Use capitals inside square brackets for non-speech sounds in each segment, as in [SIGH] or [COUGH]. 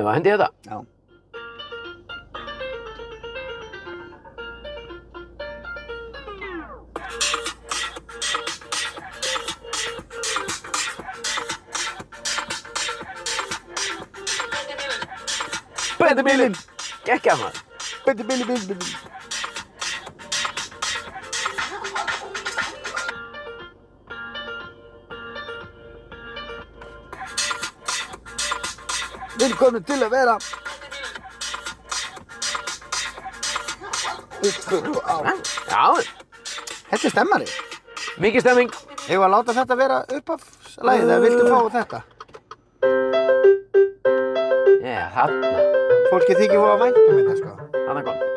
ef að hendi hérna. þetta Já. Bendi bílinn Gekk að maður Bindi, bindi, bindi, bindi. Vilkomni til að vera Ykkur og á Já, Þetta er stemmari mikið stemming Ég var að láta þetta vera uppafslæðið eða viltu Uh. fá þetta? Já, þarna, Fólki þykir fóða væntum þetta sko þarna kom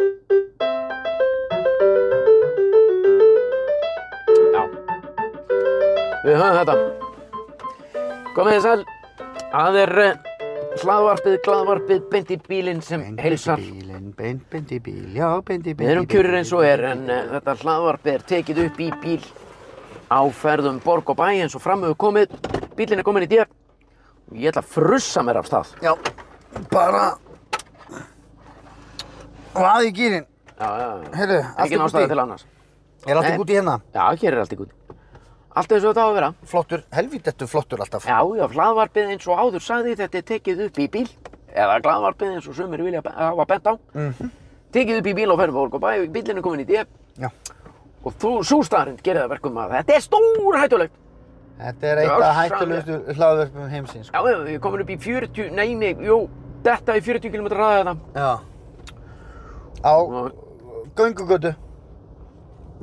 Já Við höfum þetta Komið þið sæl Það er eh, hlaðvarpið, glaðvarpið, beint í bílinn sem heilsar Beint í bílinn, beint, beint í bíl, já, beint í bíl Við erum kjurir eins og er en uh, þetta hlaðvarp er tekið upp í bíl á ferðum borg og bæ eins og framöfu komið. Bílinn er kominn í dýr og ég ætla að frussa mér af stað. Já, bara Vaði í gýrin Já, já, já. Heyrðu, allt Ekki upp úr nástaði því. til annars. Er allt í Nei. gúti hérna? Já, hér er allt í gutt. Allt eins og þetta á að vera. Flottur, helvítettu flottur alltaf Já, já, hlaðvarpið eins og áður sagði þetta er tekið upp í bíl eða hlaðvarpið eins og sömur vilja be- hafa bent á. Mhm. Tekið upp í bíl á ferðum borg og bæ, bílinn er kominn í dýr Já. og þú, svo staðarind gerir það verkum að þetta er stór hættulegt. Þetta er eitt Já, af hættulegustu hlaðvörpum heimsins Já, sko. já, ég er komin upp í 40, nei, nei, jú, þetta í 40 km ræða þetta. Já Á göngugötu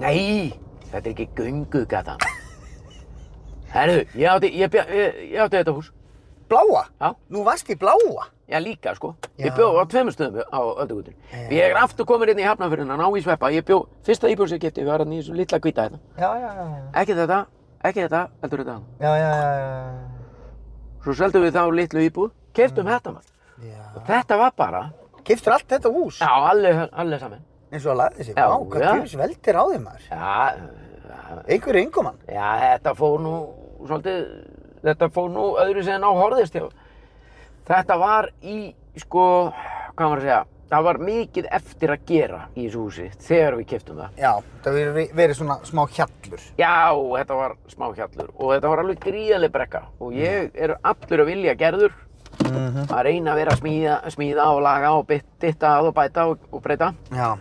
Nei, þetta er ekki [LAUGHS] göngugata. Herðu, ég átti, ég, bja- ég, ég átti þetta hús. Bláa? Já. Nú varst í bláa? Já, líka, sko. Ég Já. bjó á tveimur stöðum á öldugutinu. Ég er aftur komin hérna í hafnafyrirna, ná í sveppa. Ég bjó, fyrsta íbjörn sem ég kipti, við varum í þessu litla hvita hérna. Já, já, já, já, Ekki þetta, ekki þetta, heldur þetta. já, já, já, Svo seldum við þá litlu íbúð, keftum þetta maður. já, já. Þetta var bara, Kiftur allt þetta hús? já, allir, allir saman. Eins og að laði sig, Já, vá, hvað já. tjóðis veldir á þeim maður Já, já, Einhver yngumann Já, þetta fór nú svolítið, þetta fór nú öðru sem á horðist hjá. Þetta var í, sko, hvað maður að segja, það var mikið eftir að gera í þessu húsi þegar við keftum það. Já, það verið, verið svona smá hjallur Já, þetta var smá hjallur og þetta var alveg gríðarlega brekka Mm. og ég er allur að vilja gerður að reyna að vera að smíða, smíða og laga og bytt- dytta að og bæta og, og breyta Já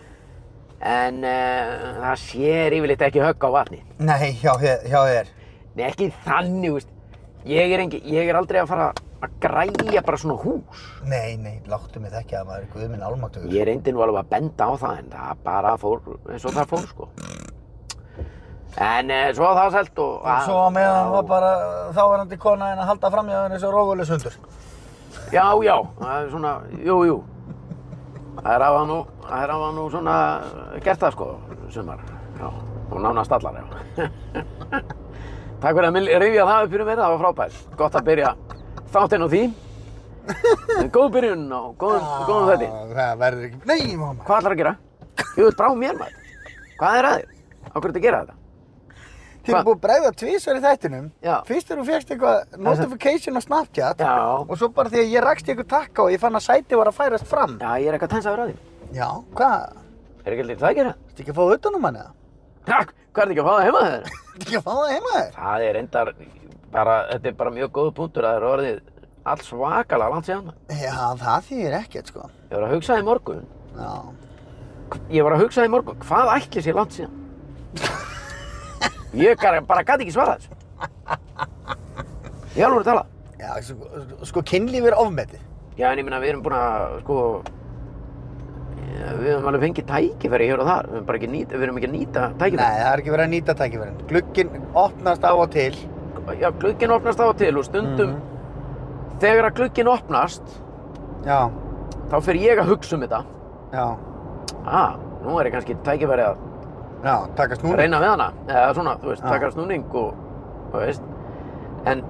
en uh, það sér yfirleitt ekki högg á vatni. Nei, hjá, þér- hjá þér Nei, ekki þannig, veist. Ég er, engi, ég er aldrei að fara að græja bara svona hús. Nei, nei, láttu mig það ekki að maður er guðminn álmáttugur Ég reyndi nú alveg að benda á það, en það bara fór eins og það fór, sko. En e, svo var það selt og... Og svo á meðan var bara þáverandi kona henni að halda framhjá henni eins og rógulis hundur. Já, já, það er svona, jú, jú. Það er hafa nú, það er hafa nú svona gert það, sko, sumar. Já, og nánast allar, já. [LAUGHS] Takk fyrir að mér rifja það upp fyrir mér, það var frábært. Gott að byrja þáttinn á því. En Góð byrjun og góðum, góðum þetta. Ah, Það verður ekki... Nei, mamma! Hvað ætlar að gera? Jú, þetta brá mér maður. Hvað er að þér? Á hverju ertu að gera þetta? Þið Hva? eru búið að bregða tvísar í þættinum. Já. Fyrst þegar þú fegst eitthvað notification á Snapchat. Já. Og svo bara því að ég rakst í eitthvað takka og ég fann að sæti var að færast fram. Já, ég er eitthvað tensaður á því. Já, hvað? Er ekki alltaf það að gera? Ertu ekki að fá utanum hann eða? Takk, hvað ertu ekki að fá það heima þeirra? Ertu ekki að fá það heima þér? Það er endar, bara, þetta er bara mjög góð punktur að það er orðið alls svakalega langt síðan. Já, það þýðir ekkert sko. Ég var að hugsa í morgun, Já. ég var að hugsa í morgun, hvað ætli sér langt síðan? Ég bara, bara gæti ekki svara þessu. Ég alveg að tala. Já, sko, sko kynlíf er ofmetið. Já, en ég meina, við erum búin að, sko, ja, við höfum alveg fengið tækifæri hér og þar, við erum bara ekki að nýta, við erum ekki að nýta Nei, tækifæri. það er ekki verið að nýta tækifærin. Glugginn opnast af og til. Já, glugginn opnast á og til og stundum, þegar að glugginn opnast, Já, þá fer ég að hugsa um þetta. já. Ah, nú er ég kannski tækifæri að Já, taka snúning. reyna við hana, eða svona, þú veist, Já. taka snúning og, þú veist, en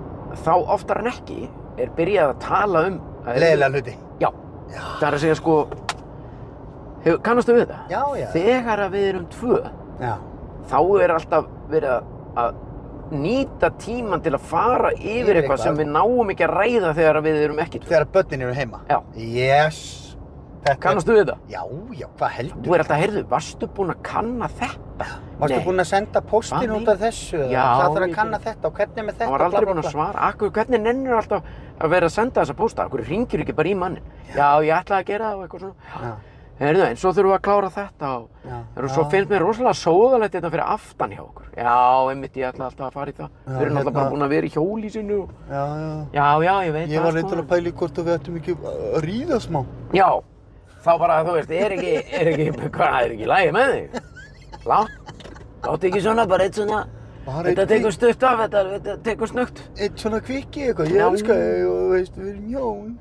þá oftar en ekki er byrjað að tala um... Leðilega hluti. Já, það er að segja, sko, hefur, kannastu við þetta? Já, já. Þegar að við erum tvö, Já. þá er alltaf verið að- að nýta tíman til að fara yfir Yfir eitthvað sem eitthvað. við náum ekki að ræða þegar við erum ekki tvö. Þegar börnin eru heima? Já. Yes. Þetta er- Kannastu við það? Já, já, hvað heldur? Þú er alltaf, heyrðu, varstu búinn að kanna þetta? Varstu Nei. búinn að senda postin Hvað út af þessu? eða Já, Það þarf ég að kanna gerði. þetta og hvernig er með þetta? Hann var bla, aldrei bla, búinn að bla. svara. Akkur, hvernig nennir alltaf að vera að senda þessa pósta? Akkur ringir ekki bara í mannin? Já, ég ætlaði að gera það og eitthvað svona. Já, Heyrðu, en svo þurfum við að klára þetta og... já, En svo já. finnst mér rosalega sóðalegt þetta fyrir aftan hjá okkur. Já, einmitt, ég ætla alltaf að fara í það. Já, Þau eru náttúrulega hérna- bara búin að vera í hjóli sínu. og- Já, já. Já, já, ég veit Ég var sko. reyndar að pæla í hvort að við ættum ekki að ríða smá. Já, þá bara, þú veist, er ekki, er ekki, hvað, er ekki lægi með þig? Látt, látt ekki svona, bara eitt svona, Bara þetta einn tekur stutt af, þetta, þetta tekur snögt. Eitt svona kvikki eitthvað, ég Já. elska þig og veist, við erum hjón.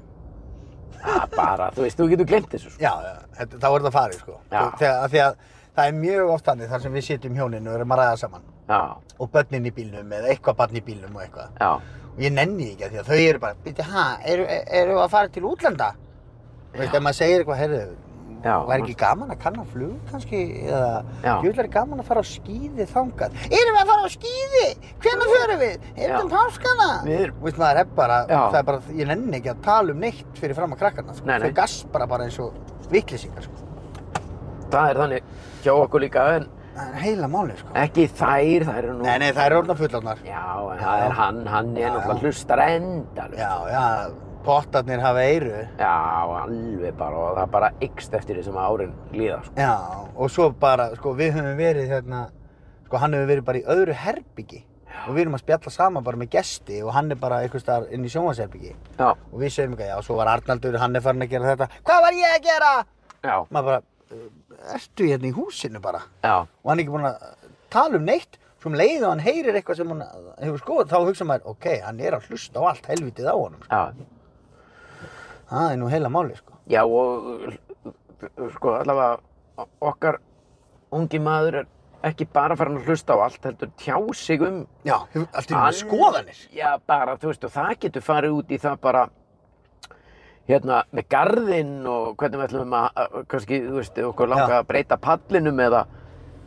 Já, bara, þú veist, þú getur glemt þessu, sko. Já, já, þetta, þá er þetta farið sko. Já. Þegar, af því að það er mjög oft hannig þar sem við sitjum hjóninu og erum að ræða saman. Já, Og börnin í bílnum eða eitthvað barn í bílnum og eitthvað. já, Og ég nenni því ekki af því að þau eru bara, byrja, hæ, eru, eru að fara til útlanda? Þú veist, ef maður segir eitthvað, herðu, Já, væri ekki gaman að kanna flug kannski? Eða, Já. jöfnlega er gaman að fara á skíði þangað. Erum við að fara á skíði? Hvenær förum við? Já. Erum við páskana? Við erum- Þú veist, maður er bara, Já. það er bara, ég nenni ekki að tala um neitt fyrir fram að krakkana, sko. Nei, nei. Þau gaspara bara eins og vitlýsingar, sko. það er þannig hjá okkur líka, en Það er heila máli, sko. ekki þær, þær eru nú. Nei, nei, það er orðna fullarnar. Já, en það er hann, hann er Já, náttúrulega já. hlustar endalust. Já, já, pottarnir hafa eyru. Já, alveg bara og það bara ykst eftir því sem árin líða sko. Já, og svo bara, sko, við höfum verið hérna, sko, hann hefur verið bara í öðru herbyggi og við erum að spjalla saman bara með gesti og hann er bara einhvers staðar inn í sjónvarsherbyggi Já, og við segjum eitthvað, já, svo var Arnaldur, hann er farin að gera þetta, hvað var ég að gera? já, Maður bara, "Eh, ertu hérna í húsinu bara? já, Og hann er ekki búinn að tala um neitt, svo um leið og hann heyrir eitthvað sem hann hefur skoðað, þá hugsa maður, ok, hann er að hlusta á allt helvitið á honum, sko. já, það er nú heila máli, sko. já og sko allavega okkar ungi maður er ekki bara farin að hlusta á allt heldur tjá sig um Já, hefur allt í Hann- einu skoðanir. Já, bara, þú veist, og það getur farið út í það bara hérna, með garðinn og hvernig við ætlum að, að- kannski, þú veist, ef okkur langa Já. að breyta pallinum eða,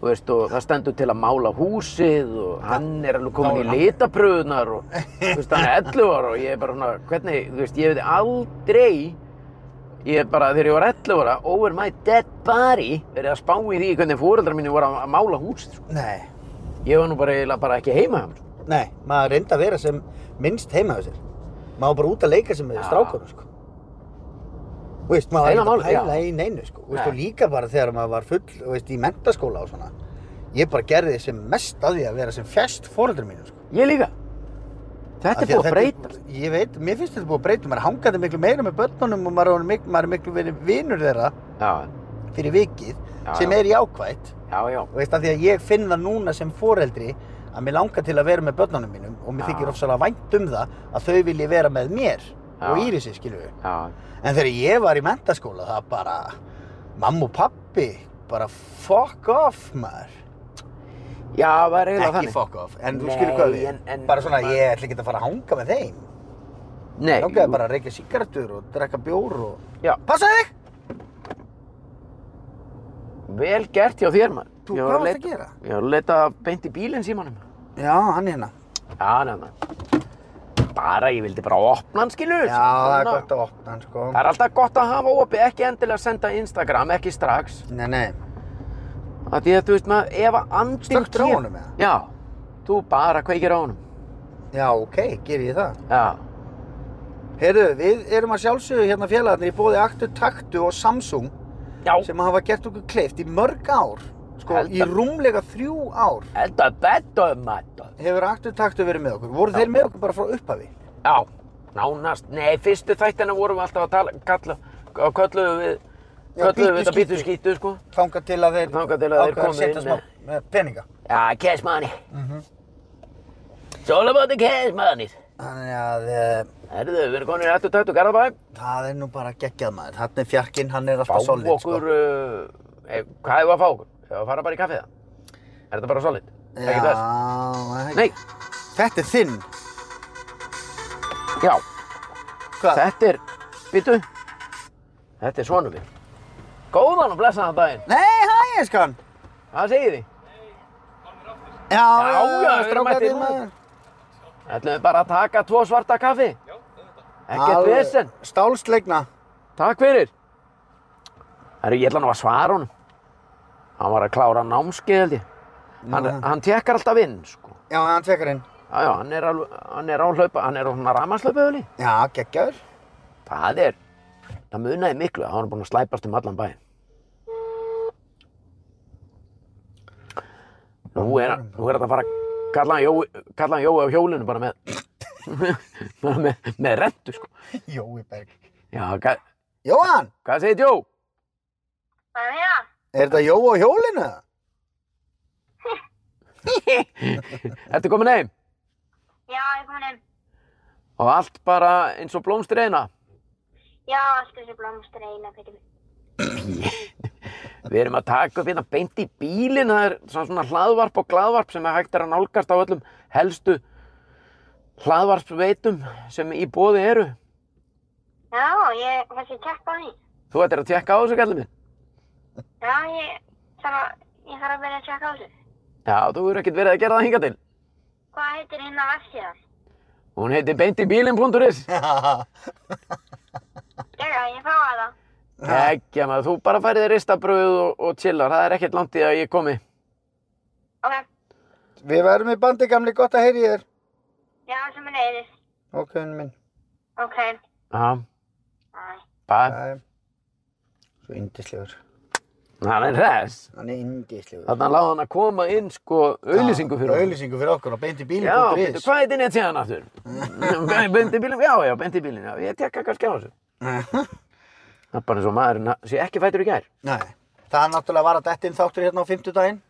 þú veist, og það stendur til að mála húsið og hann er alveg komin Þá er í hann- litapröðunar og, þú veist, hann er 11 ára og ég er bara svona, hvernig, þú veist, ég veit aldrei, ég er bara, þegar ég var 11 ára, over my dead body, verið að spá í því hvernig fóreldrar mínu voru að, að mála húsið, sko. Nei, Ég var nú bara eiginlega bara ekki heima hjá mér, sko. nei, maður reynda að vera sem minnst heima á sér. Maður á bara út að leika sem með Já. strákunum, sko. Þú Veist, maður Heila reynda að málið, já. pæla í neinu, sko. Þú Veist, Nei. og líka bara þegar maður var full, þú veist, í mentaskóla og svona. Ég bara gerði sem mest að því að vera sem fjast fóreldur mínu, sko. Ég líka. Af Þetta er því að búið að breyta. Ég veit, mér finnst þetta búið að breyta. Maður er hangandi miklu meira með börnunum og maður er orðinn mik- maður er miklu verið vinur þeirra Já, fyrir vikið Já, sem já. er jákvætt. já, já. Þú veist, af því að ég finn það núna sem foreldri að mér langar til að vera með börnunum mínum og mér Já. þykir ofsalega vænt um það að þau vilji vera með mér og Já. Írisi, skilur við. já. En þegar ég var í mentaskóla, það bara, mamma og pappi, bara fuck off, maður. Já, það er eiginlega Ekki þannig. fuck off, en þú Nei, skilur hvað við. en- en- bara svona, maður- ég ætla ekki að fara að hanga með þeim. Nei, Ég langaði bara að reykja sigarettur og drekka bjór og... Já. Passaðu þig! vel gert hjá þér, mann. Þú, Ég hvað var að varst að leita- gera? Ég var að leita beint í bílinn símanum. Já, hann hérna. Já, nefna. Bara, ég vildi bara opna hann, skilur. Já, það er gott að opna hann, sko. Það er alltaf gott að hafa opið, ekki endilega senda Instagram, ekki strax. Nei, nei. Það því að, þú veist maður, ef að andin Slökktir á honum, eða? Já, þú bara kveikir á honum. Já, ok, ger ég það. Já, Heyrðu, við erum að sjálfsögðu hérna félagarnir í bóði Aktu Taktu og Samsung já. sem hafa gert okkur kleift í mörg ár, sko, Heldur. í rúmlega þrjú ár Þetta er betur, maður. hefur Aktu Taktu verið með okkur. Voru þeir með okkur bara frá upphafi? Já, nánast. Nei, fyrstu þættina vorum við alltaf að tala, kalla, og kölluðum við, Já, kölluðum við þetta bítu býtu skýtu, sko. Þangað til að þeir, Þangað til að þeir ákveða komu setja inn smá með- með peninga. Já, cash money. Mm -hmm. Sól about the cash money. Þannig að eh, Herðu, við erum konir aftur tætt og garðabæ. það er nú bara geggjað maður. Hann er fjarkinn, hann er Fá alltaf solid, sko. okkur, uh, e, hvað hefur að fá okkur? Hefur að fara bara í kaffið það? Er þetta bara solid? sko. Ekki þess? Já, Nei, Þetta er þinn. já, Hvað? þetta er, býtu, þetta er svonum við. Góðan og blessaðan daginn. Nei, hæ, elskan. Hvað segir þið? Já, Já, já, já, við erum strákarnir, mættir núna. Ætlum við bara að taka tvo svarta kaffi? Já, Ekkert Alveg vesen. Stálslegna. Takk fyrir. Herru, ég ætla nú að svara honum. Hann var að klára námskeið, held ég. Hann, Já. hann tekkar alltaf inn, sko. Já, hann tvekar inn. Já, já, hann er, alveg, hann er á hlaupa, hann er á svona ramaslaupöðuli. Já, [LAUGHS] geggjaður. Það er, það munaði miklu að hann var búinn að slæpast um allan bæinn. Nú er, hann- nú er þetta að fara að kalla hann Jói, kalla hann Jói á hjólinu bara með, [LAUGHS] bara með, með rentu, sko. Jói Berg. Já, hvað, Jóhann, hvað segir Jó? Jæja, er þetta Jói á hjólinu? [LAUGHS] [LAUGHS] Ertu komin heim? já, ég kom inn. Og allt bara eins og blómstur eina. Já, allt þessi blómstur eina fyrir mig. Við erum að taka upp hérna beint í bílinn, það er svona svona hlaðvarp og glaðvarp sem er hægt er að nálgast á öllum helstu hlaðvarpveitum sem í bóði eru. Já, ég kannski keppa á því. Þú ættir að tjekka á þessu kallið minn. Já, ég þarf að, ég þarf að byrja að tjekka á þessu. Já, þú eru ekkert verið að gera það hinga til. Hvað heitir hérna vefsíðan? Hún heitir beintibilinn.is. Jæja, ég fá að það. Ekki maður, þú bara færið ristabröð og, og chillar, það er ekkert langt í að ég komi. Ok, Við verðum í bandi gamli, gott að heyri þér. já, sem er leiðis. Ok, henni minn. Ok, Já, Æ. bara, Æ. Svo indislegur. hann er res. Hann er indislegur. Þannig að láða hann að koma inn sko auðlýsingu fyrir okkur. Auðlýsingu fyrir okkur og beint í bílinn. Já, bíddu, hvað heitir nettsíðan [LAUGHS] aftur? Beint í bílinn, já, já, beint í bílinn, já, ég tekka kannski á þessu. Það er bara eins og maðurinn að- sé ekki fætur í gær. [LAUGHS] Nei, það er náttúrulega var að dettin þáttur hérna á fimmtudaginn.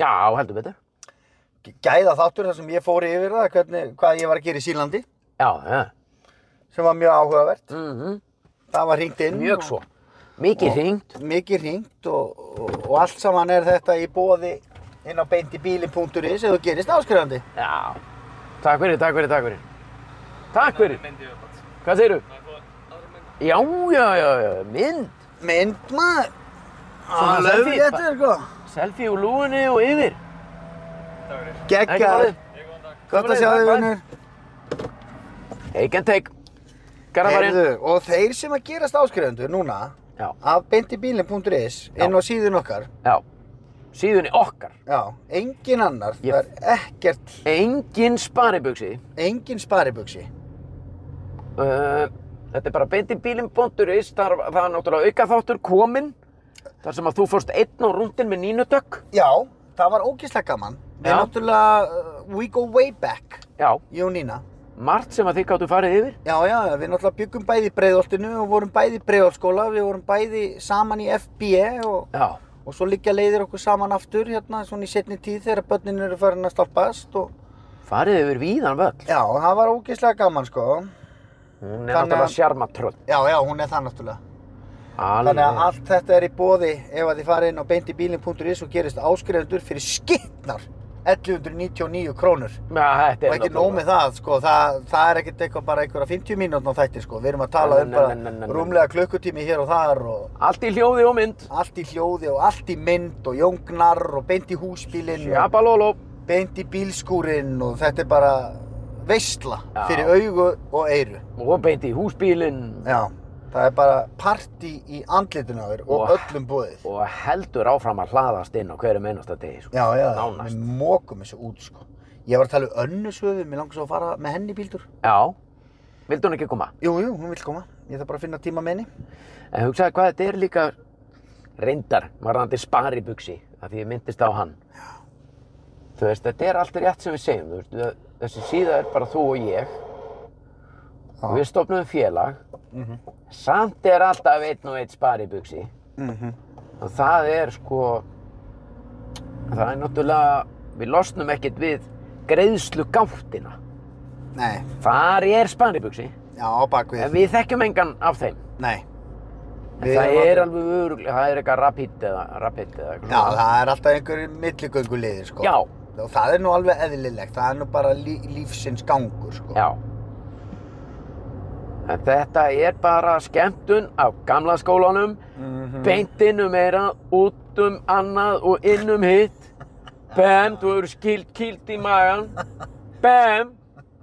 Já, heldur betur. Gæða þáttur þar sem ég fóri yfir það, hvernig, hvað ég var að gera í Sýrlandi, Já, já. sem var mjög áhugavert. Mm Það var hringt inn. Mjög og- svo. Mikið hringt. mikið hringt og, og, og allt saman er þetta í bóði inn á beintibílin.is ef þú gerist áskrifandi. Já. Takk fyrir, takk fyrir, takk fyrir. Takk fyrir. Hvað segirðu? Já, já, já, já, mynd. Mynd maður! Svona Alveg selfie, rétt ba- er sko. Selfie úr lúinni og yfir. Ekki Gekkar. málið. Gott að sjá þig Takk. vinnur. Take and take. Garðabarinn. Heyrðu, og þeir sem að gerast áskrifandur núna Já, af beintibílin.is inn á síðun okkar, já. Síðunni okkar. já, engin annar, Ég- það er ekkert, Engin sparibuxi. engin sparibuxi. Uh, þetta er bara beint í bílinn.is. Það, það er náttúrulega auka þáttur komin. Þar sem að þú fórst einn á rúndin með nínutökk. Já, það var ógeðslega gaman. Við Já. náttúrulega, uh, we go way back, Já, ég og Nína. margt sem að þið gáttu farið yfir. Já, já, já, við náttúrulega byggum bæði í breiðoltinu og vorum bæði í breiðoltskóla, við vorum bæði saman í FBE og, Já, og svo liggja leiðir okkur saman aftur hérna svona í setni tíð þegar börnin eru farin að stálpast og farið yfir víðan völl. já, það var ógeðslega gaman sko. Hún er Þannig náttúrulega að- sjarmatröll. Já, já, hún er það náttúrulega. Alveg. Þannig að allt þetta er í boði ef að þið farið inn á beintibílin.is og gerist áskrifendur fyrir skittnar 1199 krónur. Já, þetta er Og ekki nóg með það, sko, það, það er ekkert eitthvað bara einhverja 50 mínútna þættir, sko. Við erum að tala Nei, um nei, nei, nei, nei, bara nei. rúmlega klukkutími hér og þar og Allt í hljóði og mynd. allt í hljóði og allt í mynd og jóngnar og beint í húsbílinn og Sjabalóló. beint í bílskúrinn og þetta er bara veistla Já. fyrir augu og eyru. Og beint í húsbílinn. Já, það er bara party í andlitinu á þér og Og- öllum búið. Og heldur áfram að hlaðast inn á hverjum einasta degi. Sko. Já, já, Nánast. við mókum þessu út sko. Ég var að tala um önnu söfu, mér langar svo að fara með henni í bíldur. Já. Vildi hún ekki koma? Jú, jú, hún vil koma. Ég þarf bara að finna tíma með henni. En hugsaði hvað þetta er líka reyndar varðandi sparibuxi af því ég myndist á hann. Þú veist, þetta er allt rétt sem við segjum. Þú veist, það- þessi síða er bara þú og ég. Já. Við stofnum félag. Samt er alltaf einn og einn sparibuxi. Mm -hmm. Og það er sko, það er náttúrulega, við losnum ekkert við greiðslu gáttina. Nei, Þar er sparibuxi, já, á bakvið. en við þekkjum engan af þeim. Nei. En Við það erum er aldrei- alveg öruglega, það er eitthvað rapid eða, rapid eða eitthvað. Já, svona. það er alltaf einhverjir milligöngulegir sko. Já. Og það er nú alveg eðlilegt, það er nú bara lí, lífsins gangur sko. Já. En þetta er bara skemmtun af gamla skólanum, Mhm. beint inn um meira, út um annað og inn um hitt. Bam, þú hefur skilt kýlt í magan. Bam,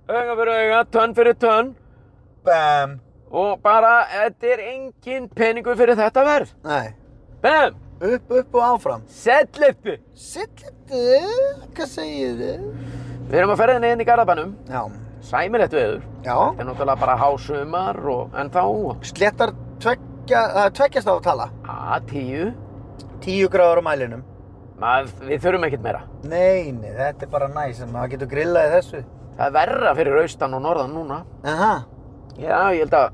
auga fyrir auga, tönn fyrir tönn. Bam. Og bara, þetta er engin peningur fyrir þetta verð. Nei. Bam, Upp, upp og áfram. setlipi. Sittliti, hvað segir þið? Við erum að ferðinni inn í Garðabænum. Já. Sæmilegt veður. Já. Þetta er náttúrulega bara hásumar og en þá. Sléttar tveggja, uh, tveggjast á að tala. Að tíu. Tíu gráður á mælinum. Maður, við þurfum ekkert meira. Nei, nei, þetta er bara næs, en maður getur grillað í þessu. Það er verra fyrir austan og norðan núna. Aha. Já, ég held að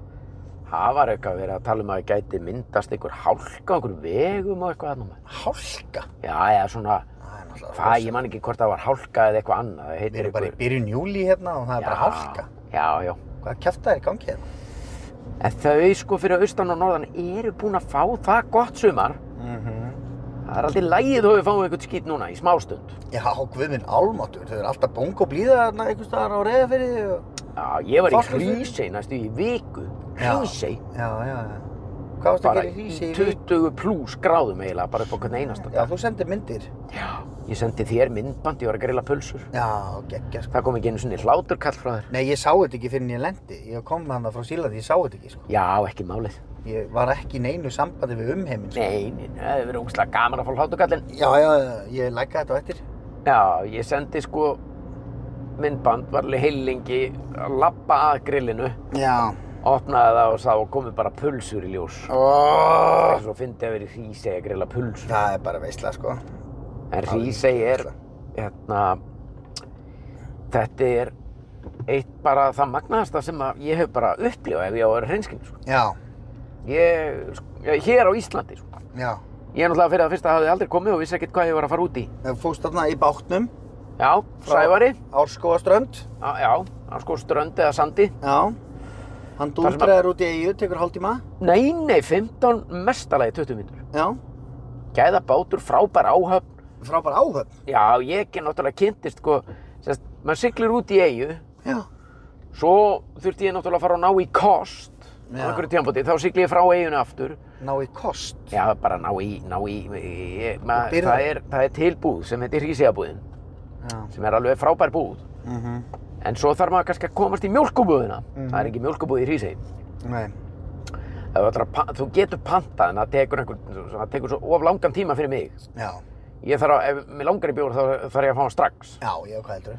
það var eitthvað verið að tala um að það gæti myndast einhver hálka, einhver vegum og eitthvað annað. Hálka. Já, já, svona, Það er náttúrulega hvað, ég man ekki hvort það var hálka eða eitthvað annað. það Við heitir erum bara í einhver- byrjun júli hérna og það er bara Já, hálka. Já, já. Hvað kjæftar er í gangi hérna? En þau sko fyrir austan og norðan eru búin að fá það gott sumar. Mm -hmm. Það er aldrei lægið þó við fáum einhvern skýt núna í smástund. Já, guðminn álmáttur. Þau eru alltaf bóng og blíða þarna einhvers staðar á reyðafyrði og... Já, ég var í Fólk- Hrísey næstu í viku. Já. Hrísey. Já, já, já. Hvað varst að Bara gera í hrísi í í vík? 20 pluss gráðum eiginlega, bara upp á hvern einasta Já, dag. þú sendir myndir. Já, ég sendi þér myndband, ég var að grilla pulsur. Já, geggja sko. Það kom ekki einu sinni hláturkall frá þér. Nei, ég sá þetta ekki fyrir en ég lendi. Ég kom hann frá Sílandi, ég sá þetta ekki sko. Já, ekki málið. Ég var ekki í neinu sambandi við umheiminn sko. Nei, nei, nei, það hefur verið ógslag gaman að fá hláturkallin. Já, já, já, ég lækka þetta á eftir. Já, ég sendi sko myndband, var alveg heilingi að labba að grillinu, Já. opnaði það og sá og komið bara pulsur í ljós. Það Oh. er svo fyndið að vera í Hrísey að grilla pulsur. Það er bara veisla sko. En Hrísey er, hérna, þetta er eitt bara það magnaðasta sem að ég hef bara upplifað ef ég á að vera hreinskinn, sko. Já, Ég, sko, ég- hér á Íslandi, sko. já. Ég er náttúrulega fyrir það fyrsta hafði aldrei komið og vissi ekkert hvað ég var að fara út í. Fóst þarna í bátnum. Já, Frá- Sævari, Árskóaströnd. á, já, á sko strönd eða sandi. Já. Hann sem að- dúndraður út í eigu, tekur hálftíma. Nei, nei, 15 mestalagi 20 mínútur. Já. Gæða bátur, frábær áhöfn. Frábær áhöfn. Já, ég er náttúrulega kynntist, sko, sérst, maður siglir út í eigu, Já. svo þurfti ég náttúrulega að fara að ná í kost á Já. einhverju tímabóti, þá sigli ég frá eiginu aftur. Ná í kost. Já, bara ná í, ná í, ég, ma, Og birgðir. það, er, það er tilbúð sem heitir Hrísíabúðin, Já. sem er alveg frábær búð. Mm -hmm. En svo þarf maður kannski að komast í mjólkubúðina. Mhm. Það er ekki mjólkubúð í Hrísey. Nei. Ef Þú, ætlar að pa- þú getur pantað en það tekur, einhver, það tekur svo of langan tíma fyrir mig. Já. Ég þarf að, ef mér langar í bjór þá þarf ég að fá hann strax. Já, ég og hvað heldur.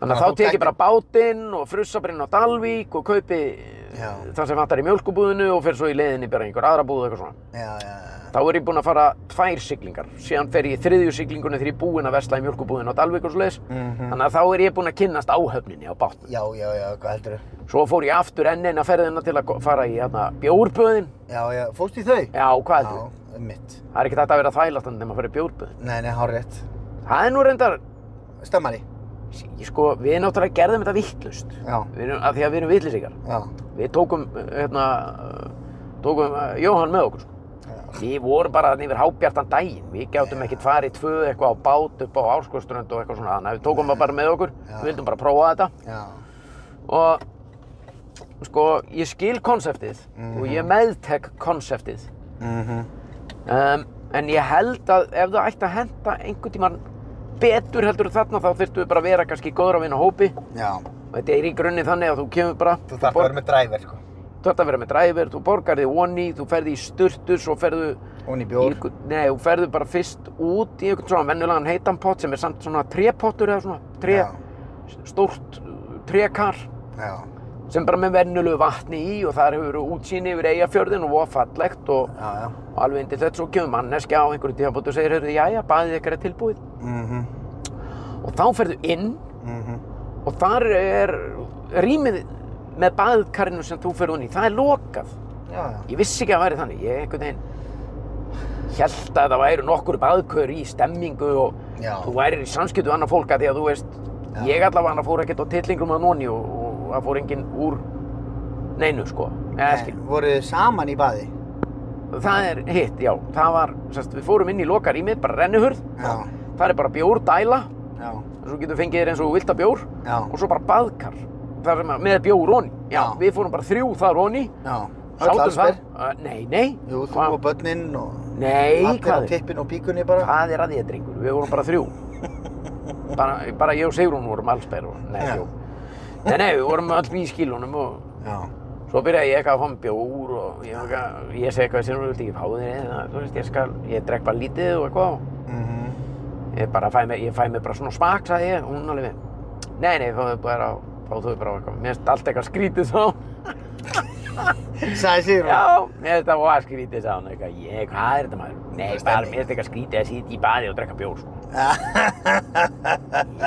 Þannig Já, að þú þá tek ég gætir- bara bátinn og frussabrinn á Dalvík og kaupi Já. eh, það sem vantar í mjölkubúðinu og fer svo í leiðinni bara í einhver aðra búð og eitthvað svona. Já, já, já. Þá er ég búinn að fara tvær siglingar. Síðan fer ég í þriðju siglingunni þegar ég er búinn að vesla í mjölkubúðinu á Dalvík og svoleiðis. Mhm. Þannig að þá er ég búinn að kynnast áhöfninni á bátnum. Já, já, já, hvað heldur. Svo fór ég aftur enn eina ferðina til að go- fara í hérna, bjórbúðin. Já, já, fóst í þau? Já, hvað heldur? Já, mitt. Það er ekki þetta að vera þvælast en þegar maður fyrir bjórbúðin. Nei, nei, hár rétt. Það er nú reyndar, Stemmari. ég sko, við náttúrulega gerðum þetta vittlust. Já, Við erum, að því að við erum vittlisíkar. já. Við tókum, uh, hérna, uh, tókum uh, Jóhann með okkur, sko. Við vorum bara þarna yfir hábjartan daginn. Við gáttum ekkert farið tvö eitthvað á bát upp á Árskoströnd og eitthvað svona. Þannig að við tókum það bara með okkur. Við vildum bara prófa þetta. Já. Og, sko, ég skil konseptið og ég meðtek konseptið. Mhm. Um, en ég held að ef það ætti að henda einhvern tíman betur heldur en þarna þá þyrftu við bara að vera kannski í góðra vina hópi Já. og þetta er í grunni þannig að þú kemur bara Þú þarf að vera með dræver, sko. þú þarft að vera með dræfir, þú borgar þig onni þú ferði í sturtu, svo ferðu Hún í í bjór. einhvern- nei, þú ferðu bara fyrst út í einhvern svona vennulegan heitan pott sem er samt svona trépottur eða svona tré, Já. stórt uh, trékar Já. sem bara með vennulegu vatni í og þar hefur verið útsýni yfir eigafjörðin og voða fallegt og Já, já. og alveg indi þetta svo kemur manneskja á einhverju tíðanbútu og segir, heyrðu, jæja, baðið ykkar er tilbúið Mhm. og þá ferðu inn Mhm. og þar er rýmið með baðkarinu sem þú ferðu inn í, það er lokað Já, já. ég vissi ekki að það væri þannig, ég einhvern veginn held að það væri nokkur baðkör í stemmingu og Já. þú værir í samskiptu við annað fólk að því að þú veist Já. ég allavega annað fór ekkert á tillingrum að noni og, og það fór enginn úr neinu sko, eða skil En Voruð þið saman í baði? það er hitt, já, það var sérst, við fórum inn í lokað rýmið, bara rennihurð Já. það er bara bjór dæla Já. svo getur fengið þér eins og þú vilt að bjór Já. og svo bara baðkar þar sem að, með bjór onni já, Já. við fórum bara þrjú þar onni Já. Öll sátum allsber. þar, uh, nei, nei Jú, þú Hva- og börnin og nei, allir á hvað er, tippin og píkunni bara. hvað er að þér drengur við vorum bara þrjú bara, bara ég og Sigrún vorum allsber og nei, Já. jú. Nei, nei, við vorum öll í skílunum og Já. svo byrjaði ég eitthvað að fá mér bjór og ég, eitthvað, ég segi eitthvað sem þú vilt ekki fá þér eða, þú veist, ég skal, ég drekk bara lítið og eitthvað og Mhm. ég bara fæ mig, ég fæ mig bara svona smakk, sagði ég, og hún alveg, nei, nei, fáðu bara, fáðu bara á eitthvað, mér finnst allt eitthvað skrítið sko. svo. Sæði Sigrún. Já, mér finnst það voða skrítið, sagði hún eitthvað, ég, hvað er þetta maður? Nei, bara, Bara stemning. mér finnst eitthvað skrítið að sitja í baði og drekka bjór, sko.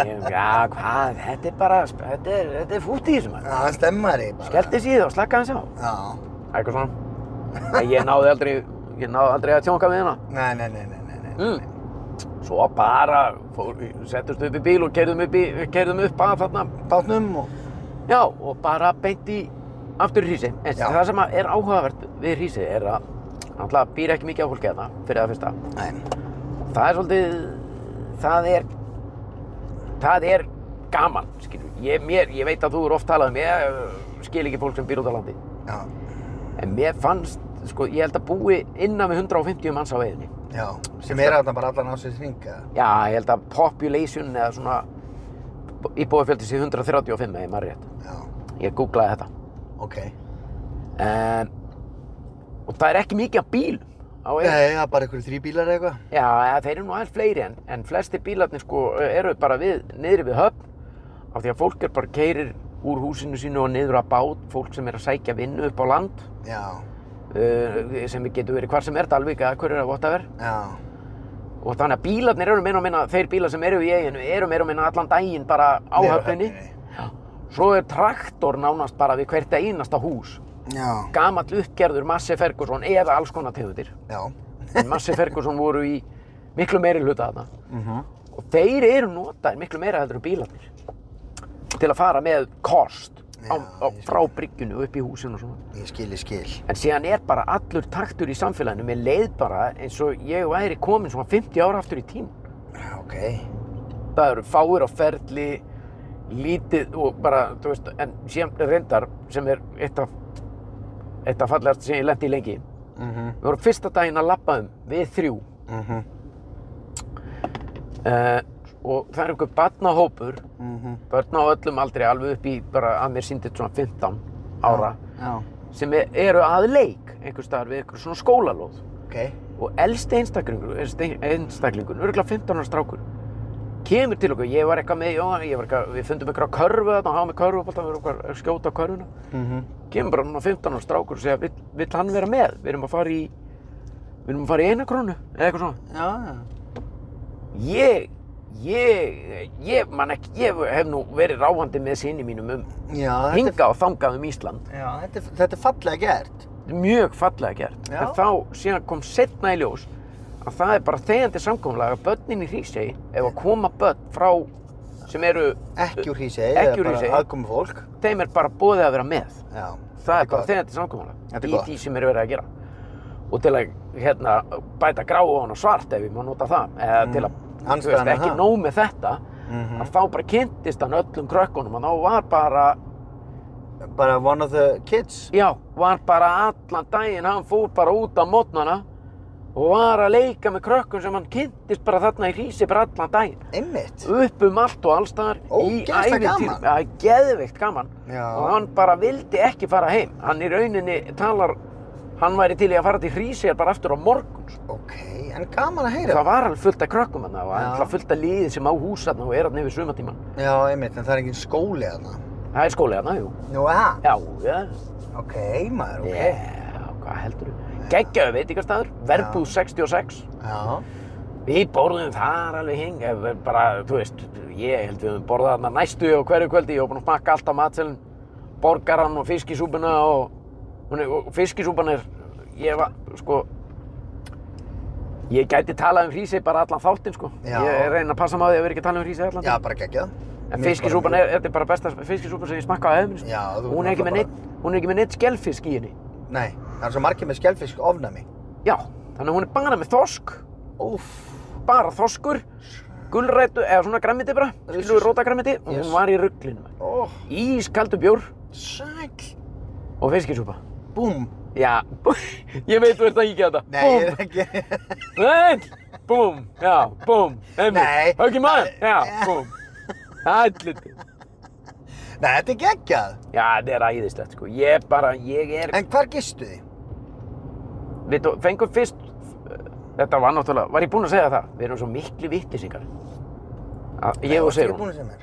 Ég, já, hvað, þetta er bara, þetta er, þetta er fútt í þessu maður. Já, það stemmar ég bara. Skellt þessi í það og slakka hans á. Já. Eitthvað svona. En ég náði aldrei, ég náði aldrei að tjónka við hana. Nei, nei, nei, nei, nei, nei. Mm. Svo bara, fór, settust upp í bíl og kerðum upp, í, kerðum upp að þarna. Bátnum og... Já, og bara beint í aftur hrísi. En Já. það sem að er áhugavert við hrísi er að náttúrulega býr ekki mikið á fólki þarna fyrir það fyrsta. Nei. Það er svolítið, það er, það er gaman, skilur. Ég, mér, ég veit að þú eru oft talað um, ég eh, skil ekki fólk sem býr út á landi. Já, En mér fannst, sko, ég held að búi innan við 150 manns á veiðinni. já. Sem er þarna bara allan ásins hringa. Já, ég held að population eða svona íbúafjöldi sé 135 eða maður rétt. Já, Ég googlaði þetta. ok. En, og það er ekki mikið af bíl á veiðinni. Nei, það er bara einhverju þrý bílar eða eitthvað. Já, eða, þeir eru nú aðeins fleiri en, en flesti bílarnir sko eru bara við, niðri við höfn af því að fólk er bara keirir úr húsinu sínu og niður að bát, fólk sem er að sækja vinnu upp á land Já, uh, sem getur verið hvar sem er, Dalvík eða hverju er að votta verð já, og þannig að bílarnir eru meira og minna, þeir bílar sem eru í eiginu eru meira og minna allan daginn bara á Niður á höfninni. höfninni. Já. Svo er traktor nánast bara við hvert einasta hús. já, Gamall uppgerður Massi Ferguson eða alls konar tegundir. já. En Massi Ferguson voru í miklu meiri hluta þarna. Og þeir eru notaðir miklu meira heldur en bílarnir. Til að fara með kost á, Já, á, ég skil. frá bryggjunni og upp í húsinu og svona. Ég skil, ég skil. En síðan er bara allur taktur í samfélaginu. Mér leið bara eins og ég væri komin svona 50 ára aftur í tím. Já, ok. það eru fáir á ferli lítið og bara, þú veist, en síðan reyndar sem er eitt af eitt af fallegast sem ég lendi í lengi við Mhm, vorum fyrsta daginn að labba um, við þrjú mhm, uh, og það er einhver barnahópur mhm. börn á öllum aldrei alveg upp í bara að mér síndið svona 15 ára Já, sem er- eru að leik einhvers staðar við einhver svona skólalóð ok. og elsti einstaklingur, einste- einstaklingur örgulega 15 ára strákur kemur til okkur, ég var eitthvað með Jóhann, ég var eitthvað, við fundum eitthvað körfu þarna, hann var með körfu við vorum eitthvað að skjóta á körfuna Mhm. kemur bara núna 15 ára strákur og segja, vill, vill hann vera með? Við erum að fara í við erum að fara í eina krónu, eða eitthvað svona Já, já. ég, ég, ég man ekki, ég hef nú verið ráfandi með sinni mínum um Já, þetta er, hinga og þangað um Ísland já, þetta er, þetta er fallega gert. mjög fallega gert Já. en þá síðan kom setna í ljós að það er bara þegjandi samkomlega að börnin í Hrísegi ef að koma börn frá sem eru Ekki úr hýsegi, Ekki úr Hrísey. bara aðkomi fólk. þeim er bara bóðið að vera með Já. það er bara gott. þegjandi Þetta samkomlega er í gott. því sem er verið að gera og til að hérna, bæta grá á hana svart ef ég má nota það eða til að þú Mm. Andstæðan er ekki það. nóg með þetta Mhm. að þá bara kynntist hann öllum krökkunum og þá var bara Bara one of the kids. Já, var bara allan daginn, hann fór bara út á mótnana og var að leika með krökkum sem hann kynntist bara þarna í hrísi bara allan daginn. Einmitt. Upp um allt og allstaðar í Ógeðslega gaman. Já, geðveikt gaman. Já. Og hann bara vildi ekki fara heim. Hann í rauninni talar, hann væri til í að fara til hrísi bara aftur á morgun. sko. Ok, en gaman að heyra. Það var alveg fullt af krökkum hann og Já. alltaf fullt af liðið sem á húsarna og er hann yfir sumatíman. Já, einmitt, en það er engin skóli þarna. Það er skólið hann, jú. Nú, aha. Já, já. Ok, maður, ok. Já, hvað heldur þú? Geggjaðu veitingastæður, verbúð 66. Já. Við borðum þar alveg hing, eh, bara, þú veist, ég held við höfum borðað þarna næstu og hverju kvöldi, ég var búinn að smakka allt á matselin, borgaran og fiskisúpuna og, hún er- og fiskisúpan er, ég var, sko, ég gæti talað um hrísi bara allan þáttinn, sko. Já. Ég reyna að passa maður því að vera ekki að tala um hrísi allan. Já, bara geggjað. En Mér fiskisúpan bara- er, þetta er bara besta fiskisúpan sem ég smakkaði á hefðinni, sko. Já, þú- Hún er ekki með neitt, hún er ekki með neitt skelfisk í henni. Nei, það er svo margir með skelfisk ofnami. Já, þannig að hún er bara með þorsk, Úff. bara þoskur, gulrætu eða svona græmiti bara, skilur við Jesus. róta græmiti og Yes. hún var í rugglinu. Ó, Ískaldu bjór sæl. og fiskisúpa. Búm. Já, [LAUGHS] ég veit þú ert að íkja þetta. Nei, ég er ekki. [LAUGHS] Búmm. Nei, búm, já, búm, Nei. einmitt, höggi mann, já, búm. Allir. Nei, þetta er geggjað. Já, þetta er æðislegt, sko. Ég bara, ég er, En hvar gistu þið? við þú- fengum fyrst, eh, þetta var náttúrulega, var ég búinn að segja það? Við erum svo miklu vittisingar. Ég og Ertu ekki Sigrún. búin að segja mér?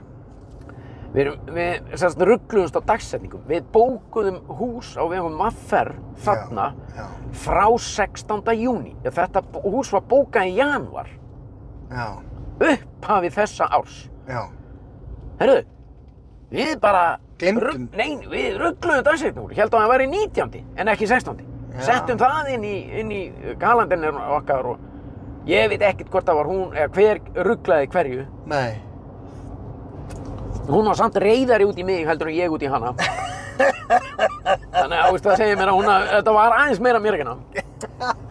Við, erum, við semst ruggluðumst á dagsetningum. Við bókuðum hús á vegum Vaffer þarna Já, frá 16. júni. Þetta b- hús var bókað í janúar, já, upphafi þessa árs. já. Herru, við bara... Gleymdum. rugg- Nei, við ruggluðum dagsetningum. Heldum að það væri 19. en ekki 16. Já. Settum það inn í, inn í kalendinu okkar og ég veit ekkert hvort það var hún eða hver rugglaði hverju. Nei. Hún var samt reyðari út í mig heldur en ég út í hana. Þannig að þú veist, það segir mér að hún að þetta var aðeins meira mér en hana.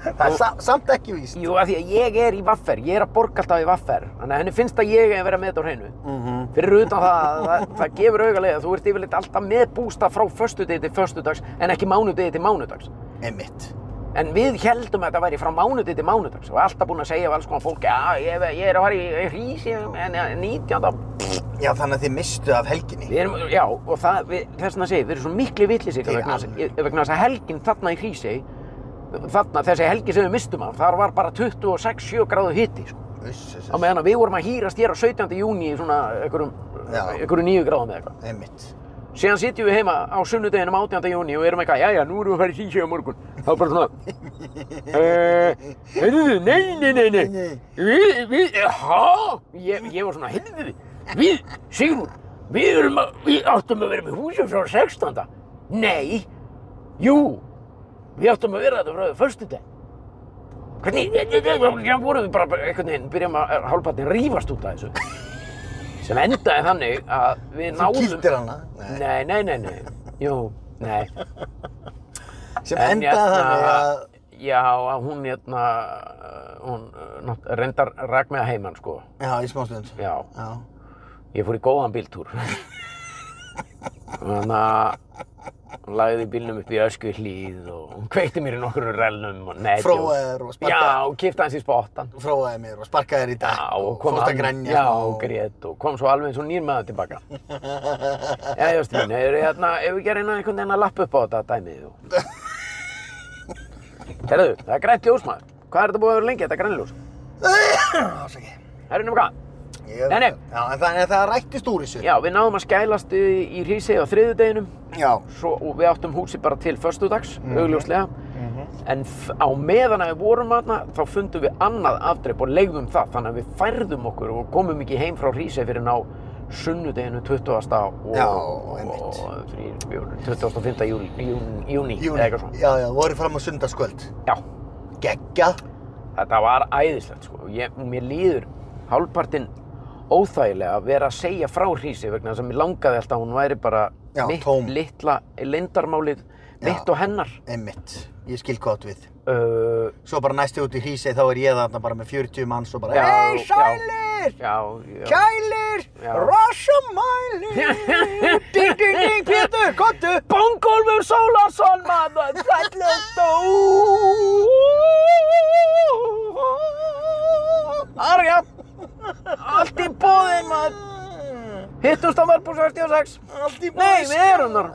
Það er sa samt ekki víst. Jú, af því að ég er í vaffer, ég er að borga alltaf í vaffer. Þannig að henni finnst að ég er að vera með þetta á hreinu. Mm -hmm. Fyrir utan það, að það, það gefur augalega að þú ert yfirleitt alltaf með bústa frá föstudegi til föstudags en ekki mánudegi til mánudags. Einmitt. En við heldum að þetta væri frá mánudegi til mánudags og alltaf búin að segja við alls konar fólk, já, ég, ég er að fara í hrísi en 19. Já, þannig að þið mistu af helginni. Við erum, já, og það, við, þess vegna segi, ég, við erum svo miklu vitlisir Þið vegna, þess- alveg. vegna þess að helgin þarna í Hrísey, þarna þessi helgi sem við mistum af, þar var bara 26-7 gráðu hitti, sko. Uss, uss, Á uss. meðan að við vorum að hýrast hér á 17. júni í svona einhverjum, Já. einhverjum nýju gráðum eða eitthvað. Einmitt. Síðan sitjum við heima á sunnudeginum 18. júni og erum eitthvað, jæja, nú erum við að fara í Hrísey á morgun. Þá bara [LAUGHS] svona, eh, heyrðu, nei, nei, nei, nei, Nei. við, við, há, ég, ég var svona, heyrðu, við, Sigrún, við erum að, við áttum að vera með húsum frá 16. Nei, jú, við áttum að vera þetta frá föstudag. Hvernig, já, vorum við bara einhvern veginn, byrjum að hálfpartin rífast út [LAUGHS] af þessu. Sem endaði þannig að við Þú náðum... kýldir hana. Nei. Nei, nei, nei, nei, jú, nei. Sem En endaði hérna- þannig að... Já, að hún hérna, hún eh, nátt- reyndar rak mig að heiman sko, Já, í smá stund. já, Já. ég fór í góðan bíltúr. Þannig að hún lagði bílnum upp í ösku hlýð og hún kveikti mér í nokkru relnum og netjó. Fróaði þér og sparkaði- Já, og kipta hans í spottan. Fróaði mér og sparkaði þér í dag. Já, og kom fórst að alveg- grænja. Já, og grét og kom svo alveg eins og nýr maður tilbaka. Já, jástu mín, hefur við hérna, ef við gerum einhvern veginn að lappa upp á þetta dæmið og... Herðu, það er grænt ljós maður. Hvað er þetta búið að vera lengi, þetta grænljós? [COUGHS] Ásaki. Herru, nema hvað? Ég... Nei, nei. Já, en þannig að það rættist úr þessu. Já, við náðum að skælast í, í Hrísey á þriðudeginum Já. svo, og við áttum húsi bara til föstudags, Mhm. augljóslega. En f- á meðan að við vorum aðna, þá fundum við annað afdreip og legðum það. Þannig að við færðum okkur og komum ekki heim frá Hrísey fyrir ná sunnudeginu 20. og, Já, og, einmitt. og 3, 4, 25. júni, jún, júni, Júni. eða eitthvað svona. Já, já, voru fram á sundarskvöld. Já, Gegga. þetta var æðislegt sko. Ég, mér líður hálfpartinn óþægilega að vera að segja frá Hrísi vegna þess að mér langaði alltaf að hún væri bara Já, mitt tóm. litla lindarmálið, mitt Já. og hennar. Einmitt. Ég skil hvað þú átt við. Uh, Svo bara næstu út í hrísi þá er ég þarna bara með 40 manns og bara Já, Hei, já. sælir! já, já, Kælir! Já. [LAUGHS] Rossamælir! Ding, ding, ding, Pétur, kottu! Bongólfur Sólarsson maður, sællust og Arja, allt í bóðin maður. Hittust á Verbúr 66. Allt í Nei, við erum þar.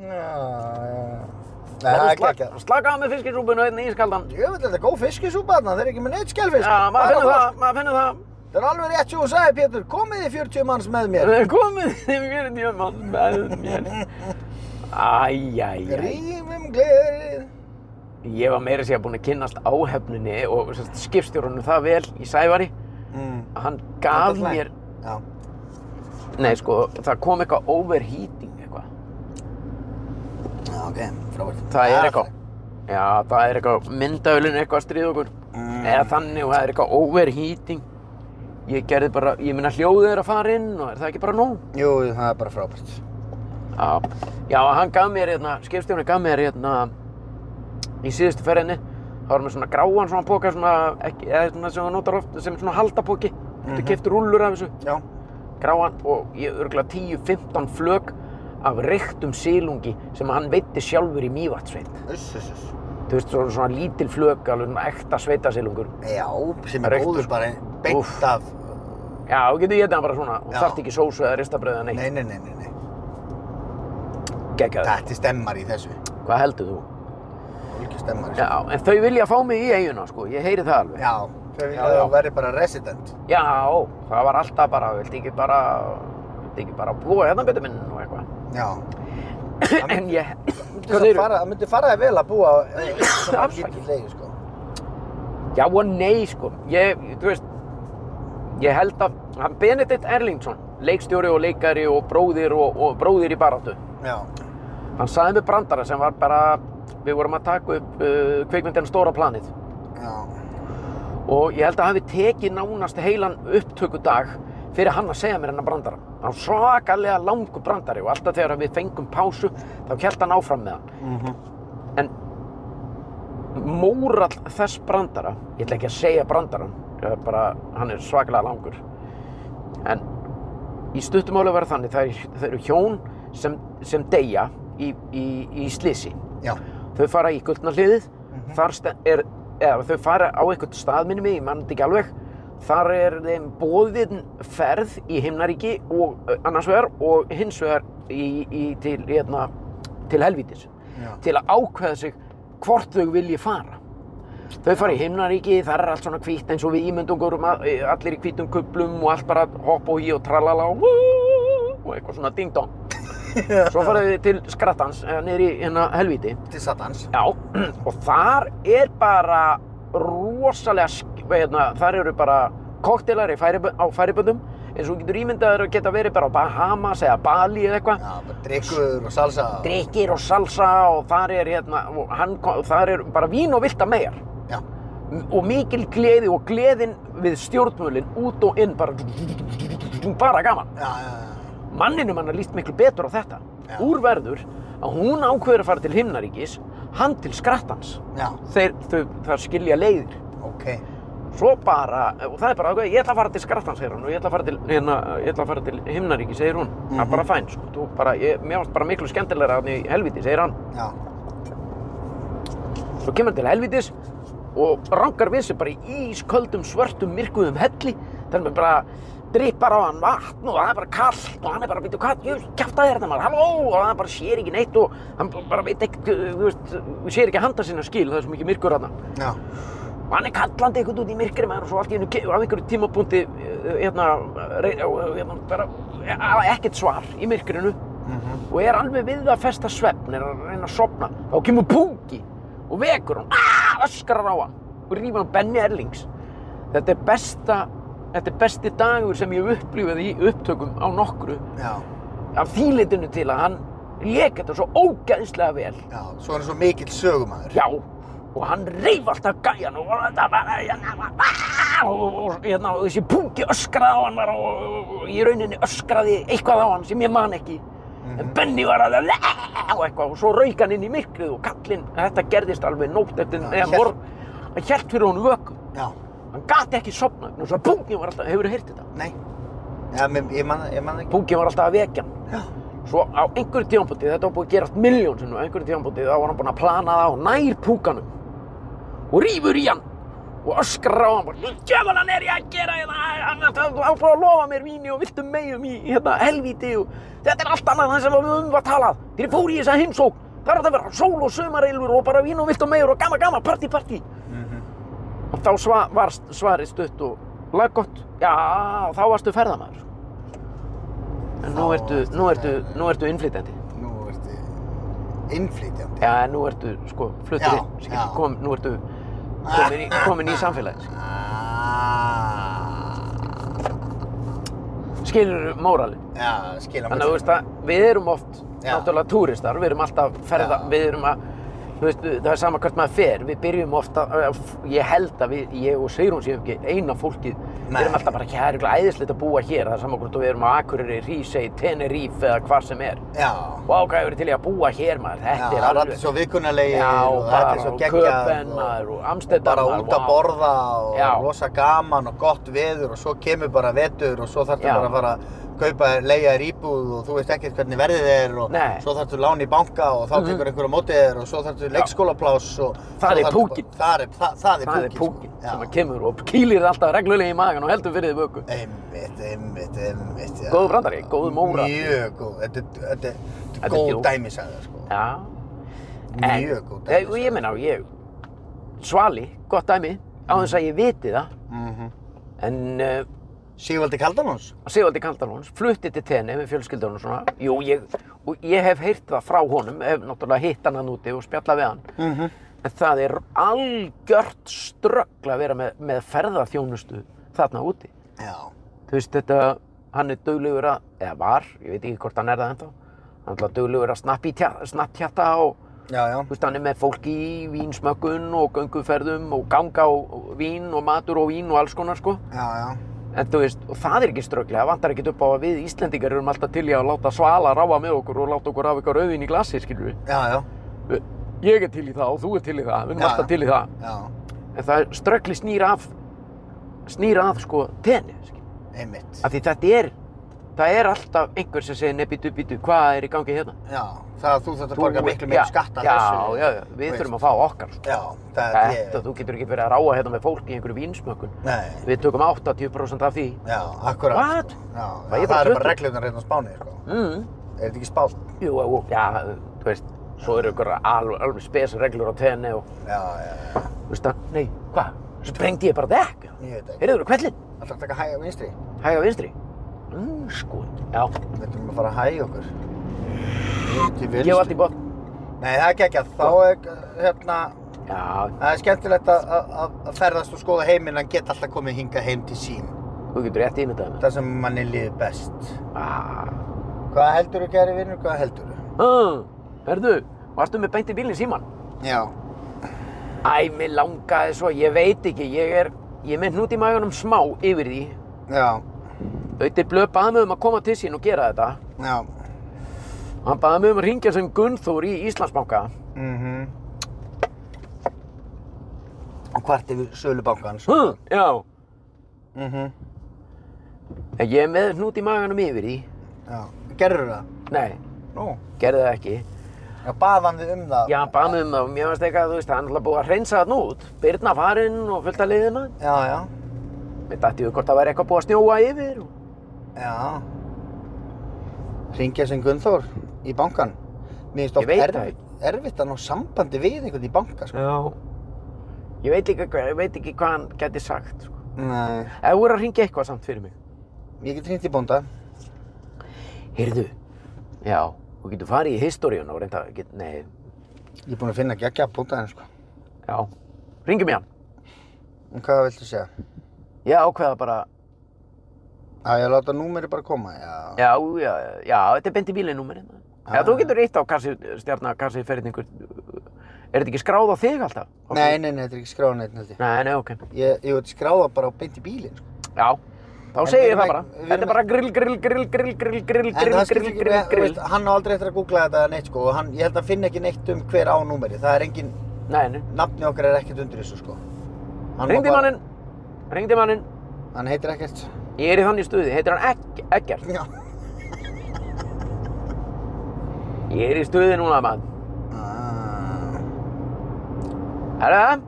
Já, já. Nei, það er ekki ekki. Slaka af með fiskisúpuna og einn ískaldan. Ég veit þetta er góð fiskisúpa þarna, þeir eru ekki með neitt skelfisk. Já, maður finnur Bara það, maður finnur það. frosk. Það er alveg rétt sem þú sagði, Pétur, komið þið 40 manns með mér. Komið þið mér í mann með mér. Æjæjæj. Rýmum glerið. Ég var meira að segja búinn að kynnast áhefninni og sem sagt, skipstjórunum það vel í Sævari. Mm. að Hann gaf Þetta er mér, Já, nei sko, það kom eitthvað overheating eitthvað. já, ok, frábært. Ah. Það er eitthvað. Já, það er eitthvað myndavölin eitthvað að stríða okkur. Mm. Eða þannig og það er eitthvað overheating. Ég gerði bara, ég minna hljóðið er að fara inn og er það ekki bara nóg? Jú, það er bara frábært. Já, já hann gaf mér hérna, skipstjórnir gaf mér hérna í síðustu ferðinni þá var með svona gráan svona póka svona, ekki, eða svona sem þú notar oft sem svona haldapóki þú Mhm. keftur rúllur af þessu Já. gráan og ég örgla 10-15 flög af reyktum silungi sem hann veitti sjálfur í Mývatsveit Uss, uss, uss. þú veist, svona, svona lítil flök, alveg svona ekta sveitasilungur. Já, sem er Reyktur. góður bara Úff. beint af... Já, þú getur getið hann bara svona, og Já. þarft ekki sósu eða ristabröð eða neitt. Nei, nei, nei, nei, nei. Nei. Gekkjaður. Þetta er stemmar í þessu. Hvað heldur þú? Ekki stemmar í þessu. Já, en þau vilja fá mig í eiguna, sko, ég heyri það alveg. Já, þau vilja já. að þú verði bara resident. Já, það var alltaf bara, viltu ekki bara, viltu ekki bara búa hérna betur minn og eitthvað. Já. [LAUGHS] en ég, hvað Til þess að þeir fara- Það myndi fara þig vel að búa á eh, svona Afsakið. lítið leiði, sko. Já og nei, sko. Ég, þú veist, ég held að hann Benedikt Erlingsson, leikstjóri og leikari og bróðir og, og bróðir í baráttu, Já. hann saði með brandara sem var bara, við vorum að taka upp uh, kvikmyndin Stóra planið Já. og ég held að hafi tekið nánast heilan upptökudag fyrir hann að segja mér hennar brandara. Hann var svakalega langur brandari og alltaf þegar við fengum pásu þá held hann áfram með hann. Mhm. En mórall þess brandara, ég ætla ekki að segja brandaran, ég er bara, hann er svaklega langur. En í stuttumáli var það þannig, það, er, það eru hjón sem, sem deyja í, í, í slisi. Já. Þau fara í guldnarliðið, Mhm. þar sten- er, eða þau fara á einhvern stað minnum ég, ég mann þetta ekki alveg, þar er þeim bóðin ferð í himnaríki og ö, annars vegar og hins vegar í, í, til, hérna, til helvítis Já. til að ákveða sig hvort þau vilji fara. Þau fara í himnaríki, þar er allt svona hvítt eins og við ímyndungur, eh, allir í hvítum kuplum og allt bara hopp og hí og tralala og, og eitthvað svona ding-dong. Svo fara þau til skrattans, eða niður í hérna helvíti. Til satans. Já, og þar er bara rosalega, sk- hérna, þar eru bara koktelar færib á færiböndum, eins og þú getur ímyndaður að geta verið bara á Bahamas eða Bali eða eitthvað Já, bara drikkur og salsa. og- drikkir og salsa og þar er hérna, og hann, kom- þar er bara vín og vilta megar Já. og mikil gleði og gleðin við stjórnmölin út og inn bara bara gaman Já, já, já. manninum hann er líst miklu betur á þetta Já. úrverður að hún ákveður að fara til himnaríkis hann til skrattans Já, þeir, þau, þar skilja leiðir ok. svo bara, og það er bara ákveðið, ég ætla að fara til skrattans, segir hún, og ég ætla að fara til, hérna, ég ætla að fara til himnaríki, segir hún það er bara fæn, sko, þú bara, ég, mér varst bara miklu skemmtilegra hann í helviti, segir hann Já. Svo kemur hann til helvítis og rangar við sér bara í ísköldum, svörtum, myrkuðum helli. Þannig að bara drippar á hann vatn og það er bara kallt og hann er bara, veitu hvað, ég kæfta þér þetta maður, halló, og hann bara sér ekki neitt og hann bara veit ekkert, uh, þú veist, sér ekki handa sinna skil, það er svo mikið myrkur hann. Já. Og hann er kallandi einhvern út í myrkri maður og svo allt í hennu, á einhverju tímapunkti, uh, hérna, rey- uh, hérna, bara, uh, ekkert svar í myrkrinu Mhm. og er alveg við að festa svefn, er að reyna að sofna. Þá kemur Pungi og vekur hann, aaaah, öskrar á hann og rýfur hann Benny Erlings. Þetta er besta, þetta er besti dagur sem ég hef upplifað í upptökum á nokkru Já. af þýlitinu til að hann lék þetta svo ógæðslega vel. Já. Svo er hann svo mikill sögumæður. Já, og hann reyf alltaf gæjan og þetta bara, aaaah, og, og, og, hérna, og þessi Pungi öskraði á hann bara og, og, og í rauninni öskraði eitthvað á hann sem ég man ekki. Mhm. En Benny var að og eitthvað og svo rauk hann inn í myrkrið og kallinn, þetta gerðist alveg nótt eftir Já, eða hélt- morg, hann hjælt fyrir hún vöku, Já. hann gati ekki sopna, og svo Bungi var alltaf, hefur þú heyrt þetta? Nei. Já, mér- ég man, ég man ekki. Bungi var alltaf að vekja hann, Já. svo á einhverju tímanbúti, þetta var búið að gerast miljón sinnum, á einhverju tímanbúti þá var hann búinn að plana það á nær púkanum og rýfur í hann og öskrar á hann bara, nú djöfulan er ég að gera hérna, hann er að að fara að lofa mér víni og viltum megjum í hérna helvíti og þetta er allt annað það sem við um var talað, þegar ég fór í þessa heimsók, það er að vera sól og sömareilur og bara vín og viltum megjur og gama gama, party party Mhm. og þá sva, var svarið stutt og laggott, já, þá varstu ferðamaður sko. en nú Þá ertu, varstu nú ertu, ferðamaður. nú ertu innflytjandi Nú ertu innflytjandi. Já, en nú ertu sko fluttur Já, inn, skil, já. kom, nú ertu komin í, komin í samfélagið. Ah. Skilur móralin. Já, skilja mig. Þannig að þú veist að við erum oft Já. náttúrulega túristar, við erum alltaf ferða, Já. við erum að, þú veist, það er sama hvert maður fer, við byrjum ofta, ég held að við, ég og Sigrún séum ekki eina fólkið, við Nei. erum alltaf bara, "Já, það er eitthvað æðislegt að búa hér, það er sama hvort og við erum á Akureyri, Rísei, Tenerife eða hvar sem er. Já. Vá, hvað hefur til í að búa hér maður, Já, þetta það er er alveg. allir svo vikunalegir Já, og þetta bara, er svo og geggjað Köben, maður, og Amsterdam, bara maður, út að vá. borða og Já. rosa gaman og gott veður og svo kemur bara vetur og svo þarf Já. það bara að fara að kaupa, leiða þér íbúð og þú veist ekkert hvernig verðið er og Nei. Mhm. svo þarftu lán í banka og þá tekur einhver á mótið þér og svo þarftu leikskólapláss og Það svo er þarftu- púkinn. Það er, það, það er Það er púkinn, púkin sko. sem að Já. kemur og kýlir alltaf reglulega í magan og heldur fyrir því vöku. Einmitt, einmitt, einmitt, já. Góður brandari, góður móra. Mjög góð, þetta, þetta, þetta, þetta Þetta er er góð djúp. dæmisaga, sko. Já. Mjög góð Nei, og dæmisaga. ég meina, ég, svali, gott dæmi, á þess að ég viti það, Mhm. en uh, Sigvaldi Kaldalóns? Sigvaldi Kaldalóns flutti til tenni með fjölskyldunum og svona, jú, ég, og ég hef heyrt það frá honum, hef náttúrulega hitt hann hann úti og spjallað við hann, Mhm. en það er algjört ströggl að vera með, með ferðarþjónustu þarna úti. Já. Þú veist, þetta, hann er duglegur að, eða var, ég veit ekki hvort hann er það ennþá, hann er alltaf duglegur að snappi tja- snapptjatta og Já, já. Þú veist, hann er með fólki í vínsmökkun og gönguferðum og ganga og vín og matur og vín og alls konar, sko. Já, já. En þú veist, og það er ekki strögglega, vantar ekki upp á að við Íslendingar erum alltaf til í að láta svala ráfa með okkur og láta okkur hafa eitthvað rauðin í glasi, skilur við. Já, já. Ég er til í það og þú er til í það, við erum Já, alltaf já. til í það. Já. En það er ströggli snýra af, snýra af, sko, tenni, skilur við. Einmitt. Af því þetta er, það er alltaf einhver sem segir, nei, býtu, býtu, hvað er í gangi hérna? Já. Það að þú þarft að borga Þú- miklu meira Já, skatt af já, þessu. Já, já, við Þú þurfum veist. að fá okkar, sko. Já, það er ég. Þetta, þú getur ekki verið að ráa hérna með fólk í einhverju vínsmökkun. Nei. Við tökum 80% af því. Já, akkurat. What? Sko. Já, Það já, er bara það eru bara 20. reglurnar hérna á Spáni, sko. Mm. Er þetta ekki spátt? Jú, jú, já, þú veist, svo eru ykkur alveg, alveg spesreglur á tenni og, Já, já, já. þú veist það, nei, hvað, sprengdi ég bara dekk? Ég veit ekki. Heyrðu, þú kvellin, Alltaf að taka hæg á vinstri. hæga vinstri. Mm, sko, já, Við ætlum að fara að hægja okkur. Til ég var vinstri. Sko- alltaf í botn. Nei, það er ekki ekki. Þá er, hérna, Já, það er skemmtilegt að, að, að ferðast og skoða heiminn en geta alltaf komið hingað heim til sín. þú getur rétt ímyndað með. Það sem manni líður best. Ah, Hvað heldur þú, kæri vinnur? Hvað heldur þú? ah, herðu, varstu með beint í bílinn síman? Já. Æ, mér langaði svo, ég veit ekki, ég er, ég er með hnút í magunum smá yfir því. Já, Auðvitað blöð baði mig um að koma til sín og gera þetta. já. Hann baði mig um að ringja sem Gunnþór í Íslandsbanka. Mm Og hvart yfir sölubankan svo. Huh, Hm, já. Mm En ég er með hnút í maganum yfir því. Já. Gerður það? Nei, Nú. gerði það ekki. Já, baðan þið um það? Já, hann bað mig um það og mér varst eitthvað, þú veist, hann er alltaf búið að hreinsa þarna út. Byrna farinn og fullta leiðina. Já, já. Mér dætti við hvort það væri eitthvað búið að snjóa yfir. og- Já. Ringja sem Gunnþór í bankan. Mér finnst Ég veit oft það erfitt, erfitt að ná sambandi við einhvern í banka, sko. Já. Ég veit líka hvað, ég veit ekki hvað hann geti sagt. Sko. Nei. Ef þú eru að ringja eitthvað samt fyrir mig. Ég get hringt í bónda. Heyrðu, já, þú getur farið í historíun og reynda, get, nei, Ég er búinn að finna geggja að bóta henni, sko. já, ringjum í hann. En hvað viltu segja? Ég ákveða bara, Að ég að láta númeri bara koma, já. já, já, já, þetta er beint í bílinnúmerið. Ah. Ah. Já, þú getur eitt á kassi, stjarnar, kassi, ferðningur, er þetta ekki skráð á þig alltaf? Á Nei, því? nei, nei, þetta er ekki skráða neitt, held ég. Nei, nei, ok. Ég, ég veit skráða bara á beint í bílinn, sko. Já, þá En segir við ég erum það ekki- bara. við Þetta erum er bara grill, grill, grill, grill, grill, grill, grill, En það skiptir grill, ekki, grill, með- þú grill. veist, hann á aldrei eftir að googla þetta eða neitt sko og hann, ég held að finna ekki neitt um hver á númeri, það er engin, Nei, nei, nafni okkar er ekkert undir þessu sko. Hann var ringdi bara- mannin, ringdi mannin, Hann heitir ekkert. ég er í þannig stuði, heitir hann Egg, Eggert. Já. Ég er í stuði núna, mann. Ah, Herra?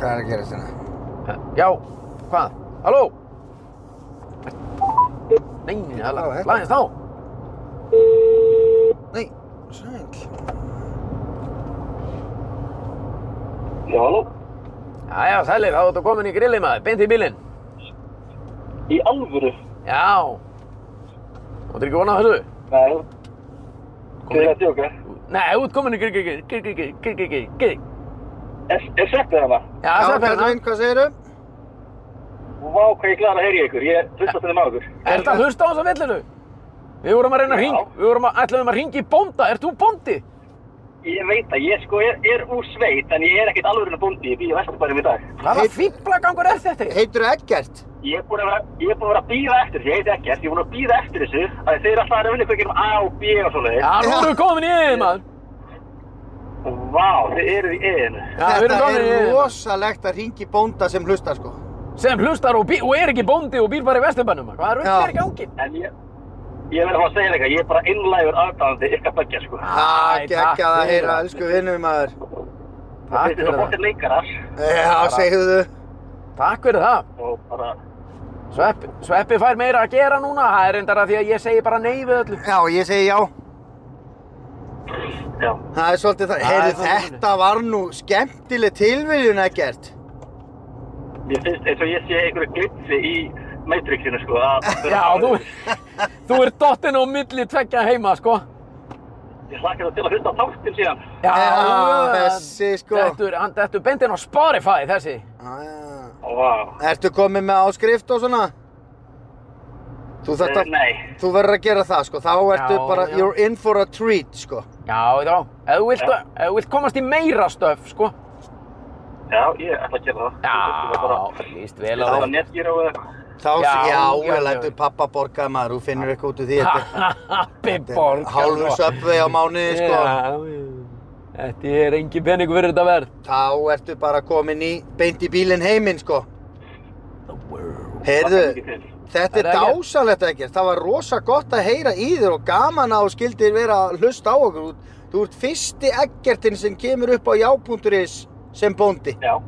Hvað er að gera þetta? Já, hvað? Halló? Nei, nei, það á, þetta. lagðist á. Nei, sæl. Já, halló, Jæja, sælir, þá ertu komin í grillið maður, beint í bílinn. í alvöru? Já. Þú ert ekki vonað þessu? Nei, þið er að djóka. Nei, þú ert komin í grill, grill, grill, grill, grill, grill, grill, grill. Er, er sveppið hana? Já, Já, sælir, hérna. Katrín, hvað segiru? Vá, hvað ég glæðan að heyri ykkur, ég hlusta þenni maður. Er þetta hlusta á þessa villinu? Við vorum að reyna að Já. ring, við vorum að ætlaðum að ringi í bónda, ert þú bóndi? Ég veit að ég sko er, er úr sveit, en ég er ekkert alvöru bóndi, ég býð í Vesturbærum í dag. Hvaða Heit- fíblagangur er þetta? Heitir þú Eggert? Ég er búin að vera, ég er búin að vera að býða eftir þessu, ég veit ekkert, ég er búin að býða eftir þessu. Það þeir alltaf að vilja hvað gerum A og B og svoleiðis. Já, nú erum við komin í yfir, maður. Vá, þið eruð í einu. Já, við erum Þetta komin í er yfir. rosalegt að ringi bónda sem hlusta sko. Sem hlustar og, bí- og er ekki bóndi og býr bara í Vesturbænum. Hvað er Já. upp fyrir gangin? En ég, ég verði að fá að segja eitthvað, ég er bara innlægur aðdáðandi ykkar begja, sko. Æ, takk Ekki að það fyrir heyra, það. elsku vinnum maður. Takk Þetta er fyrir svo það. bóttir leikarar Já, segðu. Takk fyrir það. og bara, Sveppi, sveppi fær meira að gera núna. Það er endara því að ég segi bara nei við öllu. Já, ég segi já. já. Það er svolítið Það það. er Heyrðu, svolítið þetta var nú skemmtileg tilviljun ekkert. Mér finnst eins og ég sé einhverju glitsi í Matrixinu, sko. að- [LAUGHS] Já, þú, þú ert dottinn á milli tveggja heima, sko. Ég hlakka það til að hlusta á þáttinn síðan. Já, Já, þessi, sko. Dettur, hann dettur beintinn á Spotify, þessi. Já, já. Vá. Ah. Ertu komið með áskrift og svona? Þú þetta... Eh, Nei, Þú verður að gera það sko, þá ertu Já, bara, já. you're in for a treat sko. Já, já. Ef þú vilt, Já. ef þú vilt komast í meira stöf, sko. já, ég ætla að gera það. Ég ætla bara- Já, líst vel á Það [LAUGHS] var það. netgíru og eitthvað. Þá, já, Já, já, já, ég já. lætur pappa borga maður, þú finnur eitthvað út úr því. Þetta Happy þetta borg. sko. hálfur söpvei á [LAUGHS] mánuði sko. Þetta er engin peningur fyrir þetta verð. Þá ertu bara komin í, beint í bílinn heiminn sko. The world. Heyrðu, Mikið til. þetta Það er er ekkert. dásalegt ekkert, það var rosa gott að heyra í þér og gaman að þú skildir vera að hlusta á okkur. Þú- Þú ert fyrsti ekkertinn sem kemur upp á já.is sem bóndi. Já,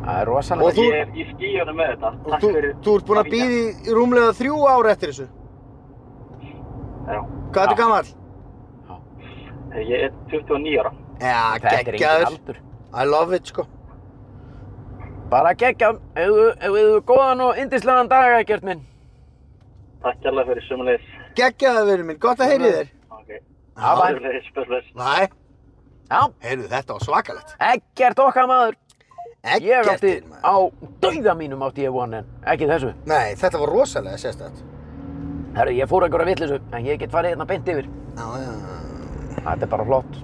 Það er Og rosalega. þú- ég er í skíunum með þetta. Og Takk þú, fyrir. þú ert búin að Ríkja. býði í rúmlega þrjú ár eftir þessu. Já, Eh, Hvað Já. ertu gammal? ég er 29 ára. Já, Þetta er engin geggjaður. aldur. I love it, sko. Bara geggjað. Ef þú- ef þú hefur góðan og yndislegan dag, ekkert minn. Takk alveg fyrir sumulegis. Geggjaður, vinur minn. Gott að heyri þér. Ok. Já, bæ. Sömuleiðis, bless, bless. Næ, Já, heyrðu, þetta var svakalegt. ekkert okkar maður. Ég átti Ekkertinn, maður. á dauða mínum átti ég von en ekki þessu. Nei, þetta var rosalega sérstætt. Herru, ég fór einhverja vitleysu en ég get farið hérna beint yfir. Já, já, já. Þetta er bara flott.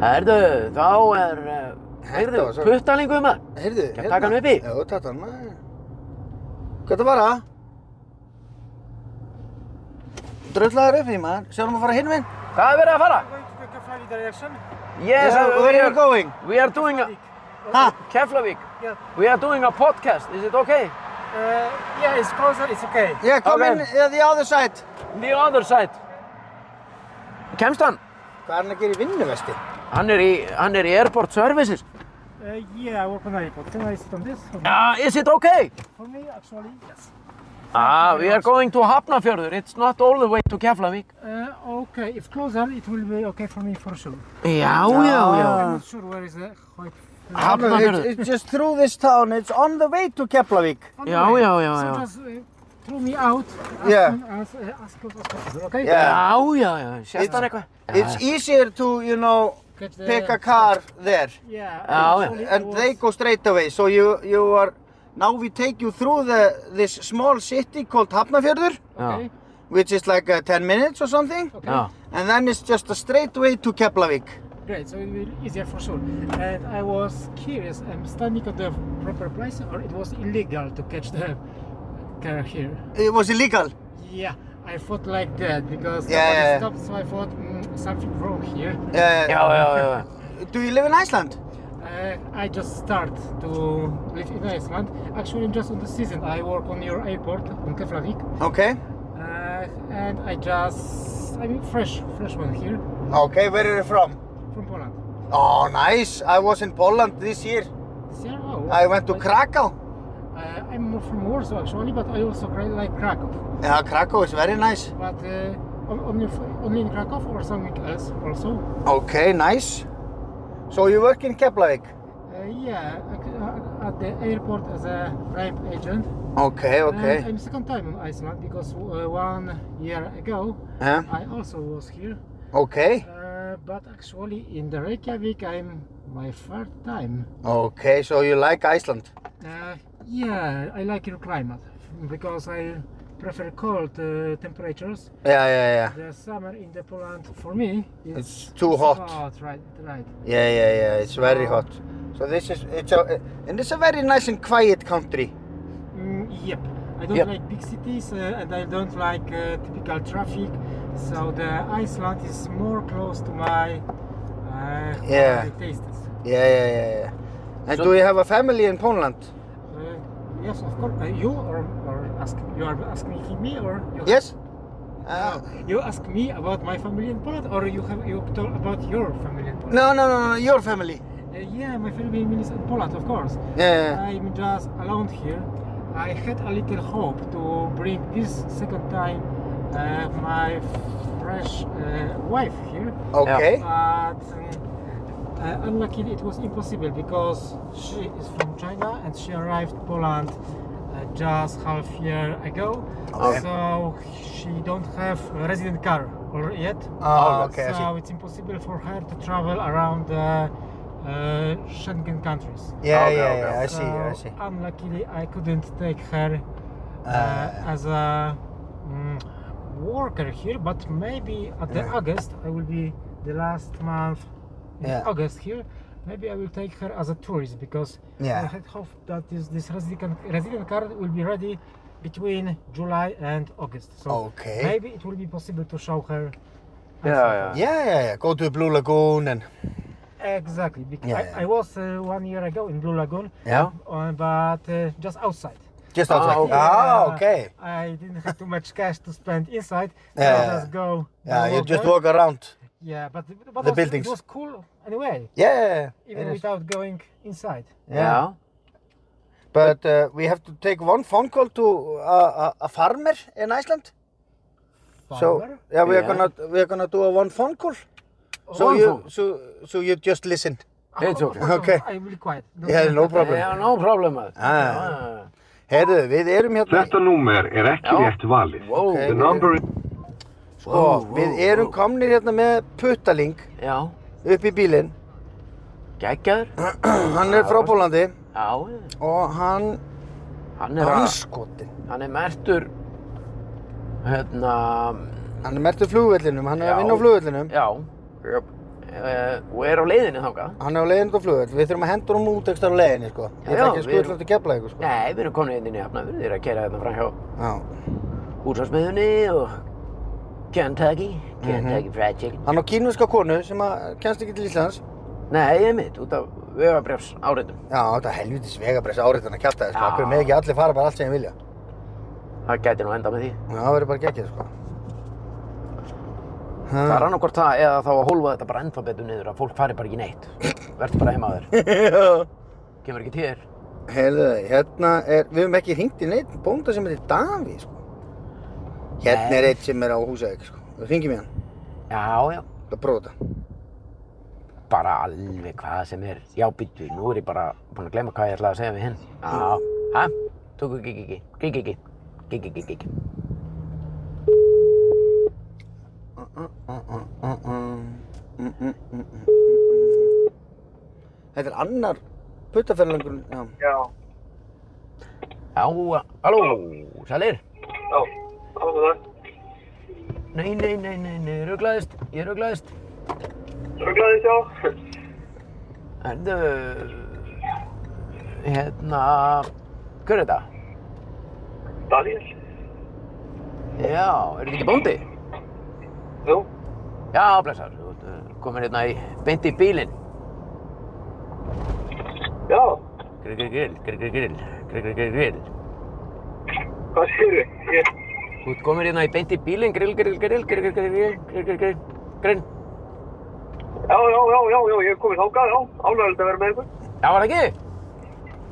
Herru, þá er... eh, Heyrðu, var svo- puttalingu maður. Heyrðu, hérna. Ekki að taka hann upp í? Já, taka hann, maður. Hvað þetta var það? Dröllaður upp í, maður. Sjáum að fara hinn minn. Hvað er verið að fara? Yes, Yeah, we where are you are- going? We are doing a... Ha? Keflavík. Yeah. We are doing a podcast. Is it okay? Uh, yeah, it's closer, it's okay. Yeah, come Okay. in uh, the other side. The other side. Kemst hann? Hvað er hann að gera í vinnuvesti? Hann er í, hann er í airport services. Uh, yeah, I work on iPod. Can I sit on this? Ah, is it okay? For me, actually, yes. Ah, we are going to Hafnarfjörður. It's not all the way to Keflavík. Uh, okay, if closer, it will be okay for me for sure. Já, já, já. I'm not sure where is the quite. Hafnarfjörður. It's, it's just through this town. It's on the way to Keflavík. On the Yeah, way. yeah, yeah, So yeah. just uh, throw me out. As Yeah. soon As, uh, as close as possible, okay? Yeah. Já, já, já, sést It's- hann eitthvað? It's easier to, you know, Catch the- pick a car there Yeah. Yeah, actually it and was- they go straight away. So you you are now we take you through the this small city called Hafnarfjörður, Já, Okay. which is like uh, 10 minutes or something, Okay. já, and then it's just a straight way to Keflavík. Uh, Great. So it will be easier for sure. And I was curious. I'm standing at the proper place, or it was illegal to catch the car here. It was illegal. Yeah, I thought like that because Yeah, yeah, yeah. somebody stopped, so I thought mm, something wrong here. Uh, já, já, já. Do you live in Iceland? Uh, I just start to live in Iceland. Actually, I'm just on the season. I work on your airport on Keflavik, Okay. uh, and I just I'm fresh, fresh one here Okay, where are you from? from Poland. Oh, nice. I was in Poland this year. Yeah, oh, I went to I- Krakow. Uh, I'm more from Warsaw actually, but I also cra- like Krakow. Yeah, Krakow is very nice. But uh, on- only f- only in Krakow or something else also. Okay, nice. So you work in Keflavík? Uh, yeah, ac- uh, at the airport as a ramp agent. Okay, And okay. I'm second time in Iceland because uh, one year ago Huh? I also was here, Okay. uh, but actually in the Reykjavik I'm my third time. Okay, so you like Iceland? Uh, yeah, I like your climate because I prefer cold uh, temperatures. Já, já, já. The summer in the Poland for me is It's too hot. Right, right. Yeah, yeah, yeah. It's very hot. So this is it's a and it's a very nice and quiet country. Mm, yep. I don't Yep. like big cities uh, and I don't like uh, typical traffic. So the Iceland is more close to my uh, how Yeah. I taste it. Yeah, yeah, yeah, yeah. And So- do you have a family in Poland? Uh, yes, of course. Uh, you or, or ask you are asking me or you Yes. No, Uh, you ask me about my family in Poland, or you have you talk about your family in Poland? no, no, no, no. Your family. Uh, yeah, my family is in Poland, of course. Yeah. I'm just alone here. I had a little hope to bring this second time uh, my fresh uh, wife here, Okay. but um, uh, unluckily it was impossible because she is from China and she arrived Poland uh, just half year ago. Okay. So she don't have a resident car or yet. Oh, okay. I So see. it's impossible for her to travel around the uh, Schengen countries. Yeah, Okay, yeah, okay. yeah. I see. I So see. Unluckily, I couldn't take her uh, Uh, as a mm, worker here, but maybe at the Yeah. August, I will be the last month in Yeah. August here. Maybe I will take her as a tourist because I Yeah. had hope that this, this resident, resident card will be ready between July and August. So Okay. Oh. maybe it will be possible to show her. Yeah, yeah. Yeah, yeah, yeah. Go to Blue Lagoon and Exactly. Because Yeah, yeah. I, I was uh, one year ago in Blue Lagoon, yeah. uh, but uh, just outside. Just Ah, outside. okay. Ah, Uh, okay. I didn't have too much cash to spend inside. [LAUGHS] so Yeah, I yeah. just go. Yeah, and you just there. walk around. Yeah, but, but The also buildings. It was cool anyway, Yeah. even it is. without going inside. yeah. But uh, we have to take one phone call to uh, a, a farmer in Iceland. So Farmer? yeah, we are Yeah. gonna we are gonna do a one phone call. So One you phone. so so you just listen. It's okay. Okay. I will be quiet. Don't Yeah, worry. no problem. Já, no problem maður. Ah. Heyrðu, við erum hérna. Þetta númer er ekki Já. rétt valið. Wow. Ok. The number Sko, Wow, wow, við erum wow. komnir hérna með puttaling Já, upp í bílinn. [CLEARS THROAT] geggjaður. hann er frá Pólandi Já, já. og hann hann er, að, anskotin. hann er mertur, hérna, Hann er mertur flugvellinum, hann er Já. að vinna á flugvellinum. já, yep. og er á leiðinni þangað. Hann er á leiðinu á flugvell. Við þurfum að henda honum út ekstra á leiðinni, sko. Ég Já, ætla við ekki að erum- skutla til kepla eitthvað, sko. Nei, við erum komin hérna inn í hafnafjörði, þeir eru að kæra hérna fram hjá Já. húsasmiðunni og Kentucky, Kentucky Fried Chicken. Hann á kínuska konu sem að kennst ekki til Íslands. Nei, ég mitt, út af vegabrefs áreitum. Já, þetta er helvitis vegabress áriðan að kjarta þér, sko. Já. Akkur með ekki allir fara bara allt sem ég vilja. Það gæti nú enda með því. Já, það verður bara gekkið, sko. Það er annarkvort það eða þá að hólfa þetta bara ennþá betur niður að fólk fari bara ekki neitt. Verður bara heima á þér. Já. Kemur ekki til þér. [LAUGHS] Heyrðu, hérna er, við höfum ekki hringt í neitt bónda sem heitir Daví, sko. Hérna er Nei. eitt sem er á Húsavík, sko. Við hringjum í hann, Já, já. það prófa þetta. Bara alveg hvað sem er. Já, býttu, nú er ég bara búinn að glemma hvað ég ætlaði að segja við hinn. Já, hæ? Tóku gigi, gigi, gigi, gigi, gigi, gigi. Mm, Þetta er annar puttaferðalangurinn, já. [LAUGHS] Já, Já, halló, sælir? já, það var það. Nei, nei, nei, nei, nei, ég ruglaðist, ég ruglaðist. Svo glæðið sjá. Erðu, hérna, hver er þetta? Daniel, Já, er þetta ekki bóndi? jú, Já, blessar, þú ert, eh, komin hérna í, beint í bílinn. já, Grill, grill, grill, grill, grill, grill, grill, grill, grill, grill. hvað séu við? Ég, Þú ert komin hérna í beint í bílinn, grill, grill, grill, grill, grill, grill, grill, grill, grill, grill, grill. já, já, já, já, já, ég hef komið þákað, já, ánægilegt að vera með ykkur. Já, var það ekki?